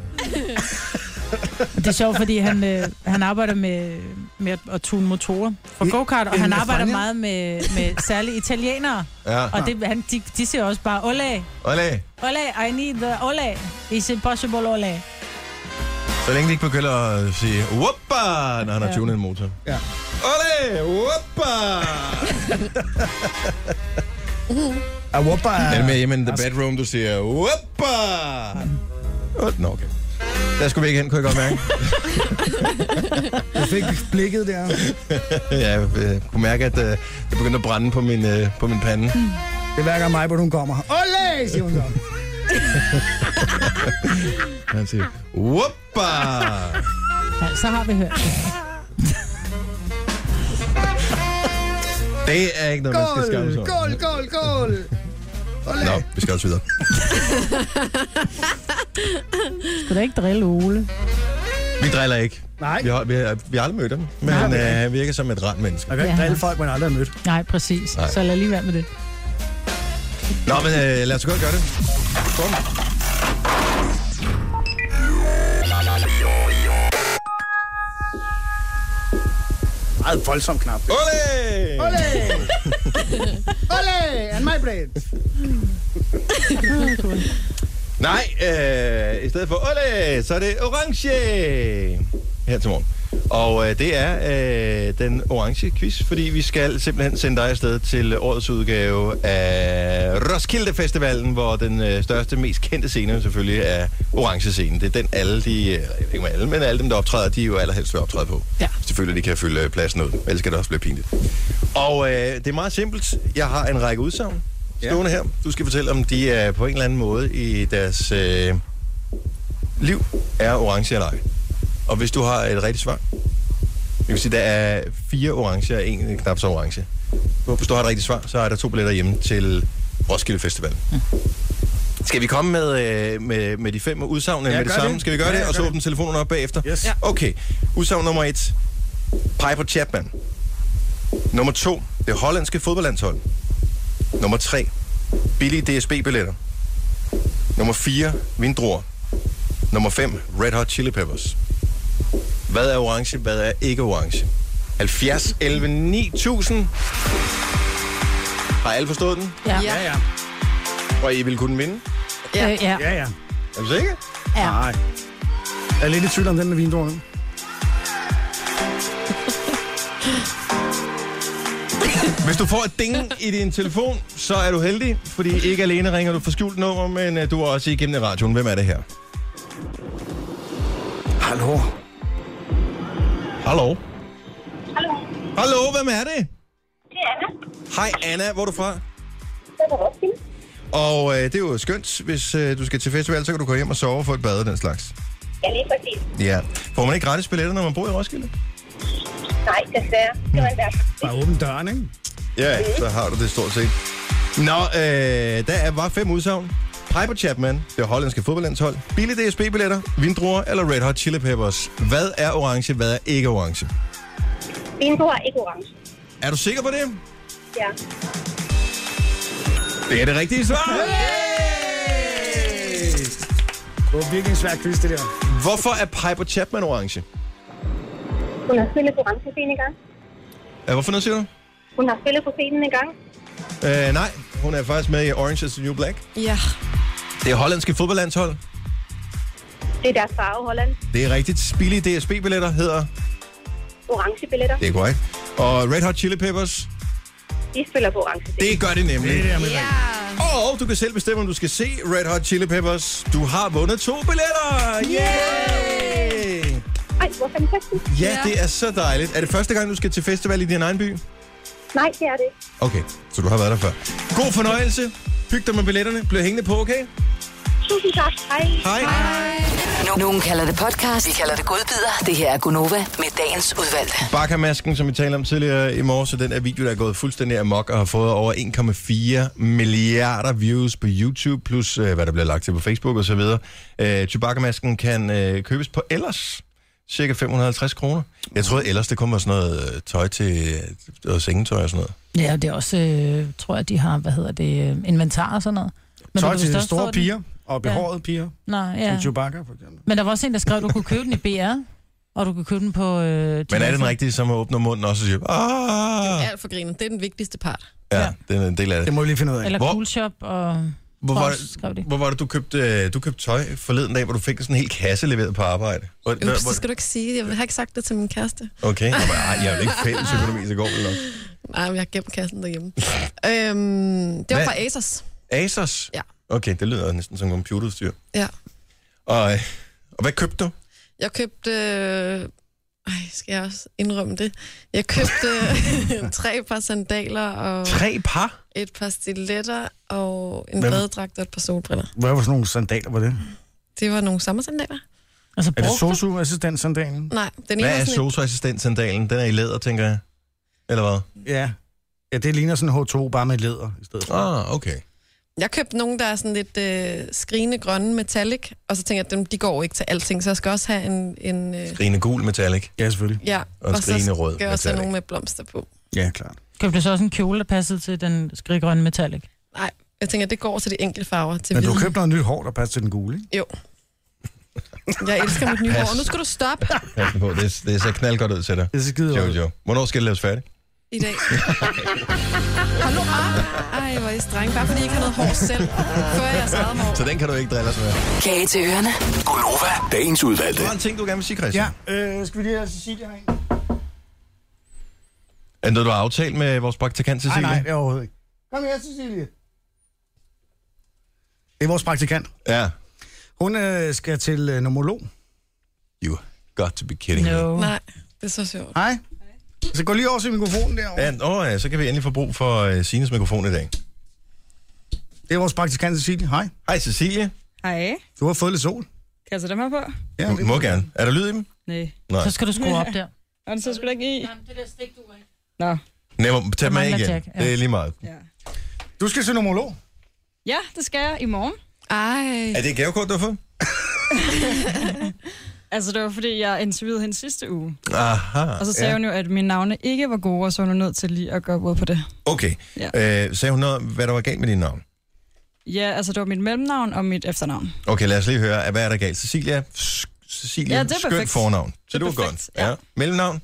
Det er sjovt, fordi han, øh, han arbejder med, med at- at tune motorer for I- go-kart, og in han arbejder España? meget med, med særligt italienere. Ja. Og det, han, de, de siger også bare, ole, Olé. ole, I need the ole. Is it possible, ole? Så længe de ikke begynder at sige, whoppa, når han har tunet en motor. Ja. Olé, whoppa. A whopper Er det med er... hjemme in the bedroom, du siger, whoppa. Åh, Nå, okay. Der skulle vi ikke hen, kunne jeg godt mærke. Jeg fik blikket der. ja, jeg øh, kunne mærke, at øh, det begyndte at brænde på min, øh, på min pande. Det er hver gang mig, hvor hun kommer. Ole, siger hun så. Han siger, whoppa. Ja, så har vi hørt det. Det er ikke noget, man skal skamme sig over. Goal, goal, goal. Ole. Nå, vi skal også videre. øh. Skal du ikke drille Ole? Vi driller ikke. Nej, Vi har, vi har, vi har aldrig mødt ham, men han øh, virker som et rart menneske. man kan ikke drille folk, man aldrig har mødt. Nej, præcis. Nej. Nej. Så lad lige være med det. Nå, men øh, lad os godt gøre det. Kom. Meget voldsom knap. Ole! Ole! Ole, and my blade. Nej, øh, i stedet for Ole, så er det orange her til morgen. Og øh, det er øh, den orange quiz, fordi vi skal simpelthen sende dig afsted til årets udgave af Roskilde Festivalen, hvor den øh, største, mest kendte scene selvfølgelig er orange scenen. Det er den alle de, øh, jeg ved ikke om alle, men alle dem, der optræder, de jo allerhelst vil optræde på. Ja. Selvfølgelig, de kan fylde øh, pladsen ud, ellers kan det også blive pinligt. Og øh, det er meget simpelt. Jeg har en række udsagn stående her. Du skal fortælle, om de er på en eller anden måde i deres øh, liv er orange eller ej. Og hvis du har et rigtigt svar, jeg vil sige, der er fire orange og en knap så orange. Hvis du har et rigtigt svar, så er der to billetter hjemme til Roskilde Festival. Mm. Skal vi komme med, øh, med, med de fem udsagn ja, med det gør samme? det. Skal vi gøre Ja, det? gør Og så det. åbne telefonen op bagefter? Yes. Ja. Okay. Udsagn nummer et. Piper Chapman Nummer to, det hollandske fodboldlandshold. Nummer tre, billige DSB-billetter. Nummer 4, vindruer. Nummer 5, Red Hot Chili Peppers. Hvad er orange, hvad er ikke orange? 70, 11, 9000. Har alle forstået den? Ja. Ja, ja. Og I vil kunne vinde? Ja. Øh, ja. Ja, ja. Er du sikker? Ja. Nej. Jeg er lidt i tvivl om den med vindruer nu. Hvis du får et ding i din telefon, så er du heldig, fordi ikke alene ringer du for skjult nummer, men øh, du er også igennem i radioen. Hvem er det her? Hallo. Hallo. Hallo, Hallo, hvem er det? det er Anna. Hej Anna, hvor er du fra? Det er Roskilde. Og øh, det er jo skønt, hvis øh, du skal til festival, så kan du gå hjem og sove og få et bad og den slags. Ja, lige præcis. Ja. Får man ikke gratis billetter, når man bor i Roskilde? Nej, desværre. Det var en værste. Bare åbne døren, ikke? Ja, så har du det stort set. Nå, øh, der er var fem udsagn. Piper Chapman, det hollandske fodboldlandshold. Billige DSB-billetter, vindruer eller Red Hot Chili Peppers. Hvad er orange, hvad er ikke orange? Vindruer er ikke orange. Er du sikker på det? Ja. Det er det rigtige svar. Det var virkelig en svær quiz, det der. Hvorfor er Piper Chapman orange? Hun har spillet på Ramsescenen en gang. Ja, Hvorfor noget siger du? Hun har spillet på scenen en gang. Øh, nej, hun er faktisk med i Orange is the New Black. Ja. Det er hollandske fodboldlandshold. Det er deres farve, Holland. Det er rigtigt. Billige DSB-billetter hedder... Orange billetter. Det er korrekt. Og Red Hot Chili Peppers, De spiller på orange scenen. det gør det nemlig. Det der med Ja. Og du kan selv bestemme, om du skal se Red Hot Chili Peppers. Du har vundet to billetter! Yay! Ej, hvor fantastisk. Ja, det er så dejligt. Er det første gang, du skal til festival i din egen by? Nej, det er det. ikke. Okay, så du har været der før. God fornøjelse. Hyg dig med billetterne. Bliv hængende på, okay? Tusind tak. Hej. Hej. Hej. Nogen kalder det podcast, vi kalder det godbider. Det her er Gunova med dagens udvalgte. Bakkermasken, som vi talte om tidligere i morges, så den er video, der er gået fuldstændig amok og har fået over 1,4 milliarder views på YouTube, plus øh, hvad der bliver lagt til på Facebook osv. Øh, Chewbacca-masken kan øh, købes på ellers cirka 550 kroner. Jeg troede ellers, det kun var sådan noget øh, tøj til øh, og sengetøj og sådan noget. Ja, det er også, øh, tror jeg, de har, hvad hedder det, øh, inventar og sådan noget. Men Tøj du til kan de stadig få store den. piger og behårede piger. Nej, Ja. ja. Chewbacca, for eksempel. Men der var også en, der skrev, at du kunne købe den i BR, og du kunne købe den på... Øh, Men er det den rigtige, som åbner munden også og siger, ah! Alt for grinen. Det er den vigtigste part. Ja, det er en del af Det det. må vi lige finde ud af. Eller Hvor- Hvor? Cool Shop, og... Hvor var, Trods, skrev de. det, hvor var det, du købte, øh, du købte tøj forleden dag, hvor du fik sådan en hel kasse leveret på arbejde? Hvor, hvor- Ups, det skal du ikke sige. Jeg har ikke sagt det til min kæreste. Okay, Nå, men, ej, jeg er jo ikke fælles økonomi, så går det nok. Nej, men jeg har gemt kassen derhjemme. øhm, det var Hvad? fra Asos. Asos? Ja. Okay, det lyder næsten som computerudstyr. Ja. Og, øh, og hvad købte du? Jeg købte... Øh... Ej, skal jeg også indrømme det? Jeg købte øh, tre par sandaler og Tre par? et par stiletter og en Hvem? badedragt og et par solbriller. Hvad var sådan nogle sandaler, var det? Det var nogle sommersandaler. Altså, Er det brugte du? sosu-assistent-sandalen? Nej, den ene Hvad var er sådan en... sosu-assistent-sandalen? Den er i læder, tænker jeg. Eller hvad? Ja. Ja, det ligner sådan en H2, bare med læder i stedet for. Ah, okay. Jeg købte nogle, der er sådan lidt øh, skrigende grønne metallic, og så tænkte jeg, at dem, de går ikke til alting, så jeg skal også have en... en øh, Grine gul metallic. Ja, selvfølgelig. ja, Og en og så skrigende rød skal jeg også have metallic. nogle med blomster på. Ja, klart. Købte du så også en kjole, der passede til den skriggrønne metallic? Nej, jeg tænker, det går til de enkelte farver. Til Men du har hvide. købt noget nyt hår, der passer til den gule, ikke? Jo. Jeg elsker mit nye Pas. hår. Nu skal du stoppe Pas nu på, det, det ser knaldgodt ud til dig. Det er så skide Jojo, hvornår skal det laves færdigt? i dag. Hold nu op. Ej, hvor er I streng. Bare fordi I ikke har noget hår selv, før jeg har hår. Så den kan du ikke drille os med. Kage til ørerne. Gunova, dagens udvalgte. Der er en ting, du gerne vil sige, Christian. Ja, øh, skal vi lige have Cecilia herind? Er det noget, du har aftalt med vores praktikant, Nej, Cecilie? nej, det er overhovedet ikke. Kom her, Cecilie. Det er vores praktikant. Ja. Hun øh, skal til øh, nomolog. You got to be kidding me. Nej, det er så sjovt. Hej. Så gå lige over til mikrofonen derovre. Ja, åh, ja, så kan vi endelig få brug for uh, Sines mikrofon i dag. Det er vores praktikant Cecilie. Hej. Hej Cecilie. Hej. Du har fået lidt sol. Kan jeg tage dem her på? Ja, Du må gerne. Er der lyd i dem? Nej. Nej. Så skal du skrue op der. Og den sidder sgu da ikke i. det der stik, du er Nå. Nemmere, tag dem af mangler igen. Jack, ja. Det er lige meget. Ja. Du skal til nomolog. ja, det skal jeg i morgen. Ej. Er det et gavekort, du har fået? Altså, det var fordi, jeg interviewede hende sidste uge. Aha. Og så sagde ja. hun jo, at mine navne ikke var gode, og så var hun nødt til lige at gøre ud på det. Okay. Ja. Øh, sagde hun noget, om, hvad der var galt med dit navn? Ja, altså, det var mit mellemnavn og mit efternavn. Okay, lad os lige høre, hvad er der galt? Cecilia, sk- Cecilia, Ja, det er skønt perfekt. fornavn. Så Det det er var godt. perfekt, Ja. ja. Mellemnavn?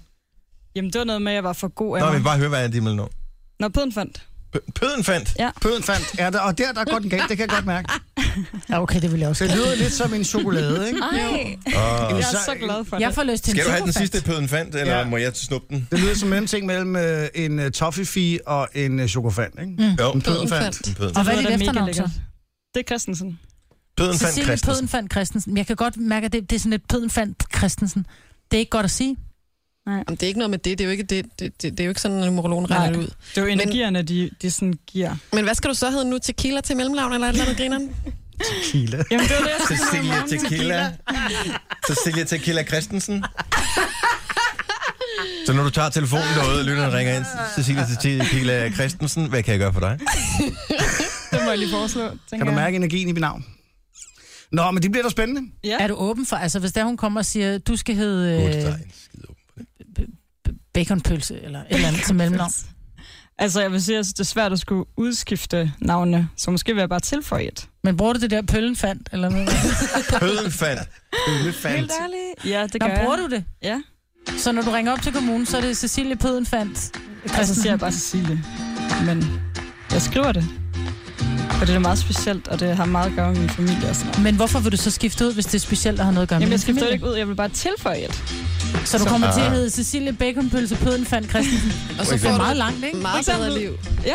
Jamen, det var noget med, at jeg var for god af Nå, mig. vi vil bare høre, hvad er dit mellemnavn? Når pøden fandt. P- Pøden fandt? Ja. Pøden fandt. Ja, der, og der, der går den galt, det kan jeg godt mærke. Ja, okay, det vil jeg også. Det lyder lidt som en chokolade, ikke? Ej, Ah. jeg er så glad for Jeg det. får lyst til Skal en du have den superfan. sidste pøden fandt, eller ja. Ja. må jeg snuppe den? Det lyder som en ting mellem øh, en uh, toffefi og en uh, chokofand, ikke? Mm. Jo, En Pøden pødenfand. fandt. en pøden. Og hvad er Det dit lyder da mega efternavn så? lækkert. Det er Christensen. Pøden fandt Cecilie Christensen. Pøden fandt Christensen. Jeg kan godt mærke, at det, det er sådan lidt Pøden fandt Christensen. Det er ikke godt at sige. Jamen, det er ikke noget med det. Det er jo ikke, det, det, det, det er jo ikke sådan, en morolon regner Nej. det ud. Det er jo energierne, de, de sådan giver. Men hvad skal du så hedde nu? Tequila til mellemnavn eller et eller andet, grineren? Kila. Jamen, det var det, jeg skulle sige i Cecilia Tequila. morgen. Cecilia Tequila Christensen. Så når du tager telefonen derude, og lytteren ringer ind, Cecilia Tequila Christensen, hvad kan jeg gøre for dig? Det må jeg lige foreslå, tænker Kan du jeg. mærke energien i mit navn? Nå, men det bliver da spændende. Ja. Er du åben for, altså hvis der hun kommer og siger, du skal hedde Gud, der øh, er en skid åben på det. baconpølse eller et eller andet til mellemnavn? Altså, jeg vil sige, at det er svært at skulle udskifte navnene, så måske vil jeg bare tilføje et. Men bruger du det der pøllen fandt? Eller noget? Pøden fandt. Elefant. ærligt? Ja, det Nå, gør jeg. bruger du det? Ja. Så når du ringer op til kommunen, så er det Cecilie Pøden fandt Altså, så siger jeg Christensen. bare Cecilie. Men jeg skriver det. For det er meget specielt, og det har meget at gøre med min familie og sådan noget. Men hvorfor vil du så skifte ud, hvis det er specielt og har noget at gøre med Jamen, jeg din skifter det familie? ikke ud, jeg vil bare tilføje et. Så Ah. du kommer Ah. til at hedde Cecilie Baconpølse Pøden fandt Christensen. Og så Det får er du Meget et langt, ikke? meget For bedre eksempel. liv. Ja.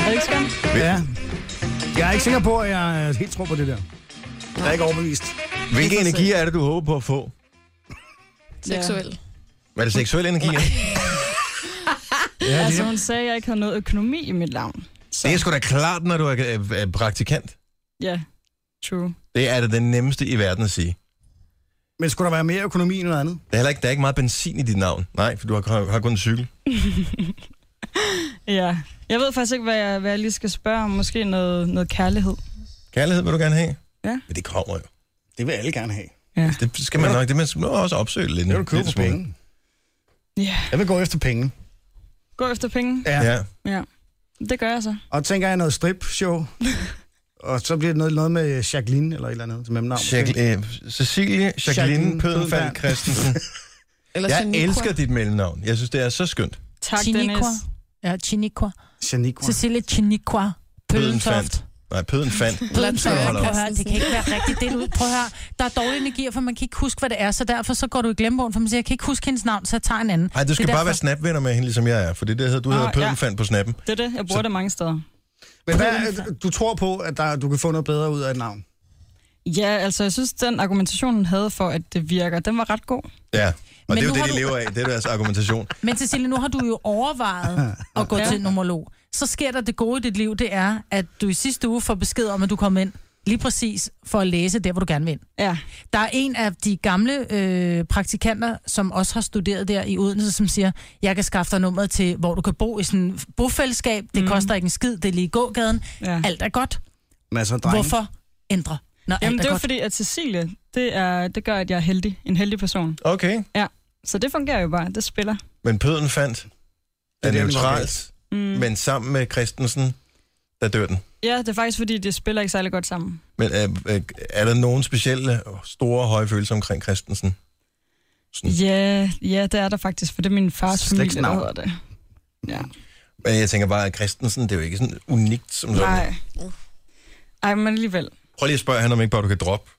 Er det ikke skønt? Ja. Jeg er ikke sikker på, at jeg øh, helt tror på det der. Jeg er ikke overbevist. Hvilke energier er det, du håber på at få? Seksuel. Er det seksuelle energier? Ja, altså, hun sagde, at jeg ikke havde noget økonomi i mit navn. Det er sgu da klart, når du er øh, øh, praktikant. Ja, true. Det er da den nemmeste i verden at sige. Men skulle der være mere økonomi end noget andet? Der er, heller ikke, der er ikke meget benzin i dit navn. Nej, for du har, har, har kun en cykel. Ja. Jeg ved faktisk ikke, hvad jeg, hvad jeg lige skal spørge om. Måske noget, noget kærlighed. Kærlighed vil du gerne have? Ja. Men det kommer jo. Det vil alle gerne have. Det skal man nok. Det man må også opsøge lidt. Det vil du købe lidt for smule. penge. Ja. Jeg vil gå efter penge. Gå efter penge. Ja. Ja. ja. Ja. Det gør jeg så. Og tænker jeg noget strip-show. og så bliver det noget, noget med Jacqueline eller et eller andet. Som er navn. Jacqu- øh, Cecilie Jacqueline Jacqueline Pødenfald Pødenfald. Christensen. Eller Jeg Shaniqua. elsker dit mellemnavn. Jeg synes, det er så skønt. Tak, Dennis. Chiniqua. Ja, Chiniqua. Janiqua. Cecilie Chiniqua. Pøllentoft. fandt. Nej, Pødenfand. Pøden Så holder fandt. Prøv at høre, op. det kan ikke være rigtigt. Det er ud. Prøv at høre, der er dårlige energier, for man kan ikke huske, hvad det er, så derfor så går du i glemmebogen, for man siger, jeg kan ikke huske hendes navn, så jeg tager en anden. Nej, du skal Det er bare være derfor- snapvenner med hende, ligesom jeg er. For det der hedder, du Nå, hedder ja. Pødenfand på snappen. Det er det. Jeg bruger Så- det mange steder. Men hvad, er- du tror på, at der, du kan få noget bedre ud af et navn? Ja, altså jeg synes, den argumentation, hun havde for, at det virker, den var ret god. Ja. Og Men det er jo nu det, har de du- lever af. Det er deres argumentation. Men Cecilie, nu har du jo overvejet at gå ja. Ja. til en numerolog. Så sker der det gode i dit liv, det er, at du i sidste uge får besked om, at du kom ind lige præcis for at læse der, hvor du gerne vil ind. Ja. Der er en af de gamle øh, praktikanter, som også har studeret der i Odense, som siger, jeg kan skaffe dig nummeret til, hvor du kan bo i sådan en bofællesskab. Det mm. koster ikke en skid, det er lige i gågaden. ja. Alt er godt. Masser af drenge. Hvorfor ændre? Nå, Jamen, alt det er var godt. fordi, at Cecilie, det, er, det gør, at jeg er heldig. En heldig person. Okay. Så det fungerer jo bare. Det spiller. Men Pødenfand er det, den var neutralt, Mm. men sammen med Christensen, der dør den. Ja, det er faktisk, fordi det spiller ikke særlig godt sammen. Men er, er der nogen specielle store høje følelser omkring Christensen? Mm. Ja, ja, det er der faktisk, for det er min fars familie, der Slægtsnavn. hedder det. Ja. Men jeg tænker bare, at Christensen, det er jo ikke sådan unikt som sådan. Nej. Ej, men alligevel. Prøv lige at spørge han, om ikke bare du kan droppe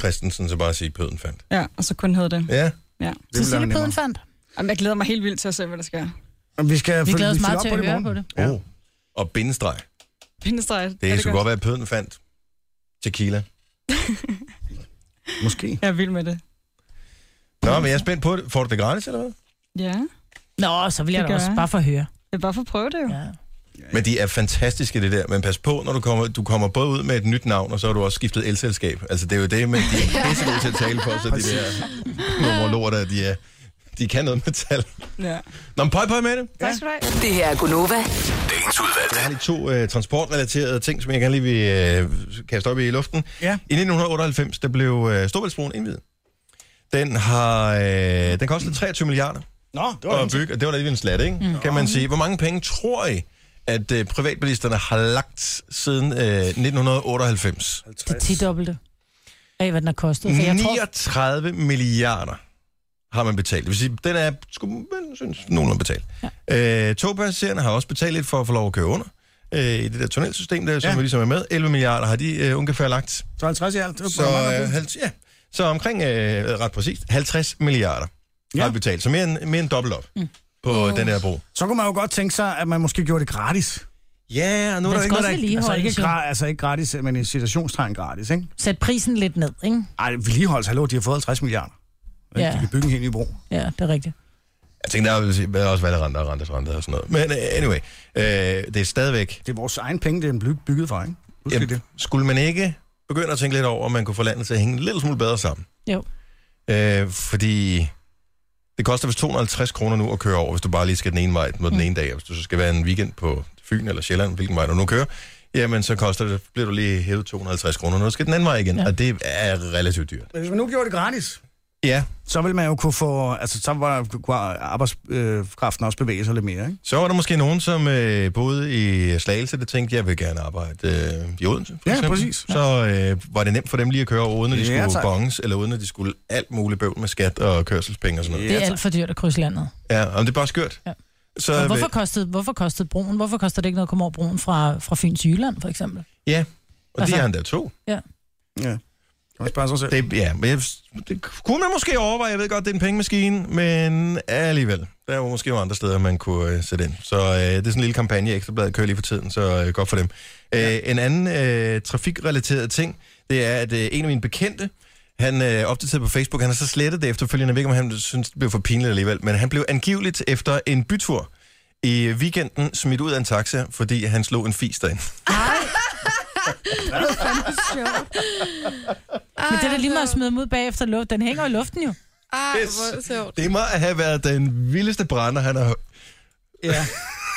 Christensen, så bare sige Pøden fandt. Ja, og så kun hed det. Ja. Ja. Det ville være Cecilie Pøden nemmere. fandt. Jamen, jeg glæder mig helt vildt til at se, hvad der sker. Men Vi, skal, Vi følge- glæder os meget følger til op at i høre morgen. på det. Oh. Og bindestreg. Pindestreg. Det ja, skulle godt være, at Pøden fandt tequila. Måske. Jeg er vild med det. Nå, men jeg er spændt på det. Får du det gratis, eller hvad? Ja. Nå, så vil jeg Det da gør også jeg. bare for at høre. Jeg er bare for at prøve det jo. Ja. Ja. Men de er fantastiske, det der. Men pas på, når du kommer, du kommer både ud med et nyt navn, og så har du også skiftet elselskab. Altså, det er jo det, men de er pissegode til at tale på, så de der numerologer, der, de, er, de kan noget med tal. ja. Nå, men pøj, pøj med det. Tak skal du have. Det her er Gunova. Dagens udvalgte. Jeg har lige to øh, transportrelaterede ting, som jeg gerne lige vil øh, kaste op i luften. Ja. I 1998, der blev øh, Storbæltsbroen indvidet. Den har... Øh, den kostede 23 milliarder. Nå, det var at bygge, og det var da lige en slat, ikke? Mm. Kan man sige. Hvor mange penge tror I, at øh, privatbilisterne har lagt siden øh, 1998? Det tidobbelte af, hvad den har kostet. For jeg tror, 39 milliarder har man betalt. Det vil sige, den er, skulle man synes, nogenlunde betalt. Ja. Øh, togpassagererne har også betalt lidt for at få lov at køre under øh, i det der tunnelsystem, der, som Ja. vi ligesom er med. 11 milliarder har de øh, ungefær lagt. Så 50 i alt. Det var Så, meget øh, godt. halv, ja. så omkring, øh, ret præcist, 50 milliarder ja. har de betalt. Så mere end, mere end dobbelt op mm. på den der bro. Så kunne man jo godt tænke sig, at man måske gjorde det gratis. Ja, og nu er der ikke noget, der ikke, altså, ikke, vedligeholdes, jo. gra- altså ikke gratis, men i situationstegn gratis, ikke? sæt prisen lidt ned, ikke? Ej, vedligeholdelse, hallo, de har fået 50 milliarder. Ja. Ja. De kan bygge en helt ny bro. Ja, det er rigtigt. Jeg tænkte, der vil sige, hvad er også valgrenter og rentes renter og sådan noget. Men øh, anyway, øh, det er stadigvæk... Det er vores egen penge, det er den byg- bygget for, ikke? Husk Jamen, skulle man ikke begynde at tænke lidt over, om man kunne få landet til at hænge en lille smule bedre sammen? Jo. Øh, fordi det koster vist 250 kroner nu at køre over, hvis du bare lige skal den ene vej mod den ene dag. Og hvis du så skal være en weekend på Fyn eller Sjælland, hvilken vej du nu kører, jamen så koster det, bliver du lige hævet 250 kroner, når du skal den anden vej igen. Ja. Og det er relativt dyrt. Men hvis man nu gjorde det gratis, Ja, så ville man jo kunne få... Altså, så var der, kunne arbejdskraften også bevæge sig lidt mere, ikke? Så var der måske nogen, som øh, boede i Slagelse, der tænkte, jeg vil gerne arbejde øh, i Odense. For Ja, eksempel. præcis. Så øh, var det nemt for dem lige at køre over, uden at de Ja, skulle tak. bonges, eller uden at de skulle alt muligt bøvl med skat og kørselspenge og sådan noget. Det er alt for dyrt at krydse landet. Ja, om det er bare skørt. Ja. Så, øh, Men hvorfor vil- kostede, hvorfor kostede broen? Hvorfor koster det ikke noget at komme over broen fra, fra Fyn til Jylland, for eksempel? Ja, og altså, Altså- det er han der to. Ja. Ja. Kan man spørge sig selv? Det, ja, men jeg, det kunne man måske overveje. Jeg ved godt, det er en pengemaskine, men alligevel. Der var måske nogle andre steder, man kunne øh, sætte ind. Så øh, det er sådan en lille kampagne, Ekstrabladet kører lige for tiden, så øh, godt for dem. Øh, en anden øh, trafikrelateret ting, det er, at øh, en af mine bekendte, han øh, opdaterede på Facebook, han har så slettet det efterfølgende, jeg ved ikke, om han synes, det blev for pinligt alligevel, men han blev angiveligt efter en bytur i weekenden smidt ud af en taxa, fordi han slog en fis derinde. Det er fandme sjovt. Men det er da lige meget at smide dem ud bagefter luft. Den hænger i luften jo. Ej, Yes. hvor sjovt. Det må have været den vildeste brænder, han har Ja.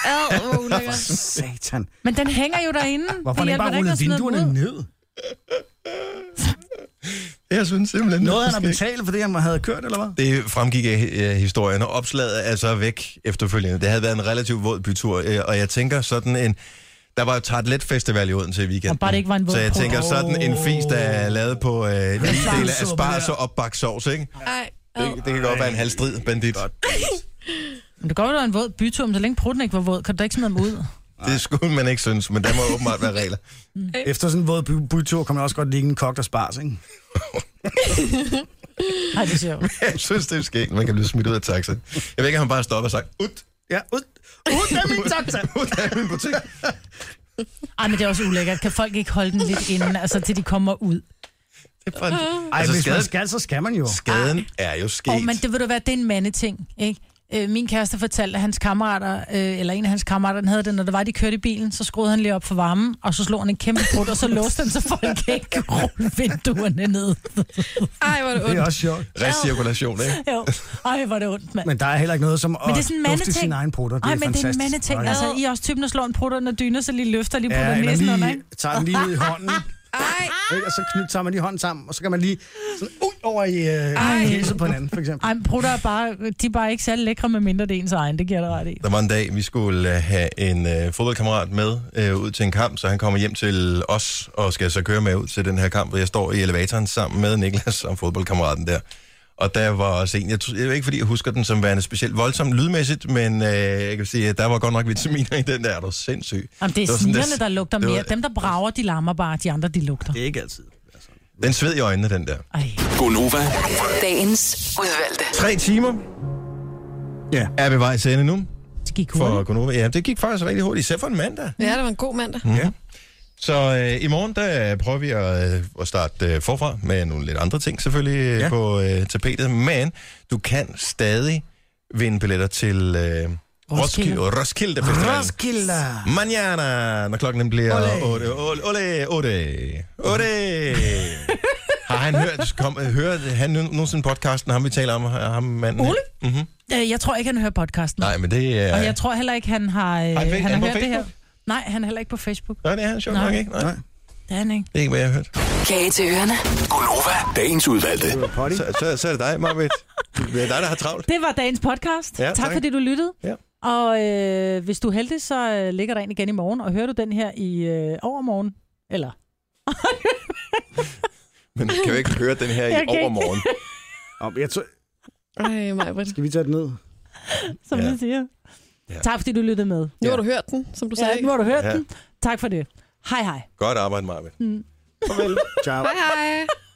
Ad, hvor ulækkert. Satan. Men den hænger jo derinde. Hvorfor har han ikke hjælper bare da at rullet smide dem vinduerne ud. ned? Jeg synes simpelthen... Noget, han har det er betalt, fordi han havde kørt, eller hvad? Det fremgik af øh, historien, og opslaget er så væk efterfølgende. Det havde været en relativt våd bytur, øh, og jeg tænker sådan en... Der var jo Tartlet Festival i Odense i weekenden. Og bare det ikke var en våd Så jeg prut. tænker sådan en fis, der er lavet på øh, en lille del af spars og opbagt sovs, ikke? Ej, Det, det kan godt være en halvstrid, bandit. Men det går jo, der er en våd bytur, men så længe prutten ikke var våd, kan du da ikke smide dem ud. Det skulle man ikke synes, men der må åbenbart være regler. Mm. Efter sådan en våd by- bytur, kan man også godt ligge en kok, der spars, ikke? Nej, det er sjovt. Jeg synes, det er skægt, man kan blive smidt ud af taxa. Jeg ved ikke, om han bare stopper og sagt, ud, Ja, ud, ud af min taxa! ud af min butik. Ej, men det er også ulækkert. Kan folk ikke holde den lidt inden, altså til de kommer ud? Det er bare... Ej, Altså, altså, hvis man skaden- skal, så skal man jo. Skaden er jo sket. Åh, oh, men det ved du hvad, det er en mandeting, ikke? Øh, min kæreste fortalte, at hans kammerater, øh, eller en af hans kammerater, den havde det, når det var, de kørte i bilen, så skruede han lige op for varmen, og så slog han en kæmpe brud, og så låste han, så folk ikke kunne rulle vinduerne ned. Ej, hvor er det Det er ondt. også sjovt. Recirkulation, ikke? jo. Ej, hvor er det ondt, mand. Men der er heller ikke noget som Men det er at sådan en dufte mandeting. sin egen prutter. Det Ej, er men det er en fantastisk. mandeting. Nå, Altså, I er også typen, der slår en prutter under dyner, så lige løfter og lige putter Ja, eller næsen under, ikke? lige tager den lige ud i hånden. Ej. Og så knyt, tager man lige hånden sammen, og så kan man lige sådan ud over i øh, hæset på hinanden, for eksempel. Ej, men prutter er bare, de er bare ikke særlig lækre, med mindre det er ens egen, det giver jeg dig ret i. Der var en dag, vi skulle øh, have en øh, fodboldkammerat med øh, ud til en kamp, så han kommer hjem til os og skal så køre med ud til den her kamp, hvor jeg står i elevatoren sammen med Niklas og fodboldkammeraten der. Og der var også en, jeg, tror, jeg ved ikke, fordi jeg husker den som værende specielt voldsom lydmæssigt, men øh, jeg kan sige, at der var godt nok vitaminer i den der, er du sindssyg. Jamen, det er var sådan, snigerne, der lugter det var- mere. Dem, der brager, de lammer bare, de andre, de lugter. er ikke altid. Den sved i øjnene, den der. Ej. Gonova. Dagens udvalgte. Tre timer Ja. er ved vejs ende nu Det gik for hurtigt. Gunova. Ja, det gik faktisk rigtig hurtigt, især for en mandag. Ja, det var en god mandag. Mhm. Så øh, i morgen, der øh, prøver vi at, øh, at starte øh, forfra med nogle lidt andre ting selvfølgelig øh, ja. Ja. på øh, tapetet. Men du kan stadig vinde billetter til øh, Roskilde, Roskilde Festival. Roskilde. Manjana, når klokken den bliver 8. Ole, 8, 8. Har han hørt, kom, hørt han nu- nogensinde podcasten, ham vi taler om, ham manden? her? Mhm. Ole? Øh, Jeg tror ikke, han hører podcasten. Nej, men det er... Og jeg tror heller ikke, han har, øh, Har han- han er har han på hørt det her. Facebook? Nej, han er heller ikke på Facebook. Nej, det er han sjovt Nej. nok ikke. Nej, Nej. det Det er han ikke. er ikke, hvad jeg har hørt. Kage til ørerne. Gunova, dagens udvalgte. Så, så, så er det dig, Marvitt. Det er dig, der har travlt. Det var dagens podcast. Ja, tak, tak. tak fordi du lyttede. Ja. Og øh, hvis du er heldig, så øh, ligger der en igen i morgen. Og hører du den her i øh, overmorgen? Eller? Men kan vi ikke høre den her Jeg i kan ikke. overmorgen? Om, jeg tror... Ej, Majbrit. Skal vi tage den ned? Som Ja. ja. vi siger. Ja. Tak fordi du lyttede med. Nu har du hørt den, som du Ja, sagde. nu har du hørt Ja. ja. den. Tak for det. Hej hej. Godt arbejde, Marvitt. Mm. Farvel. Ciao. Hej, hej.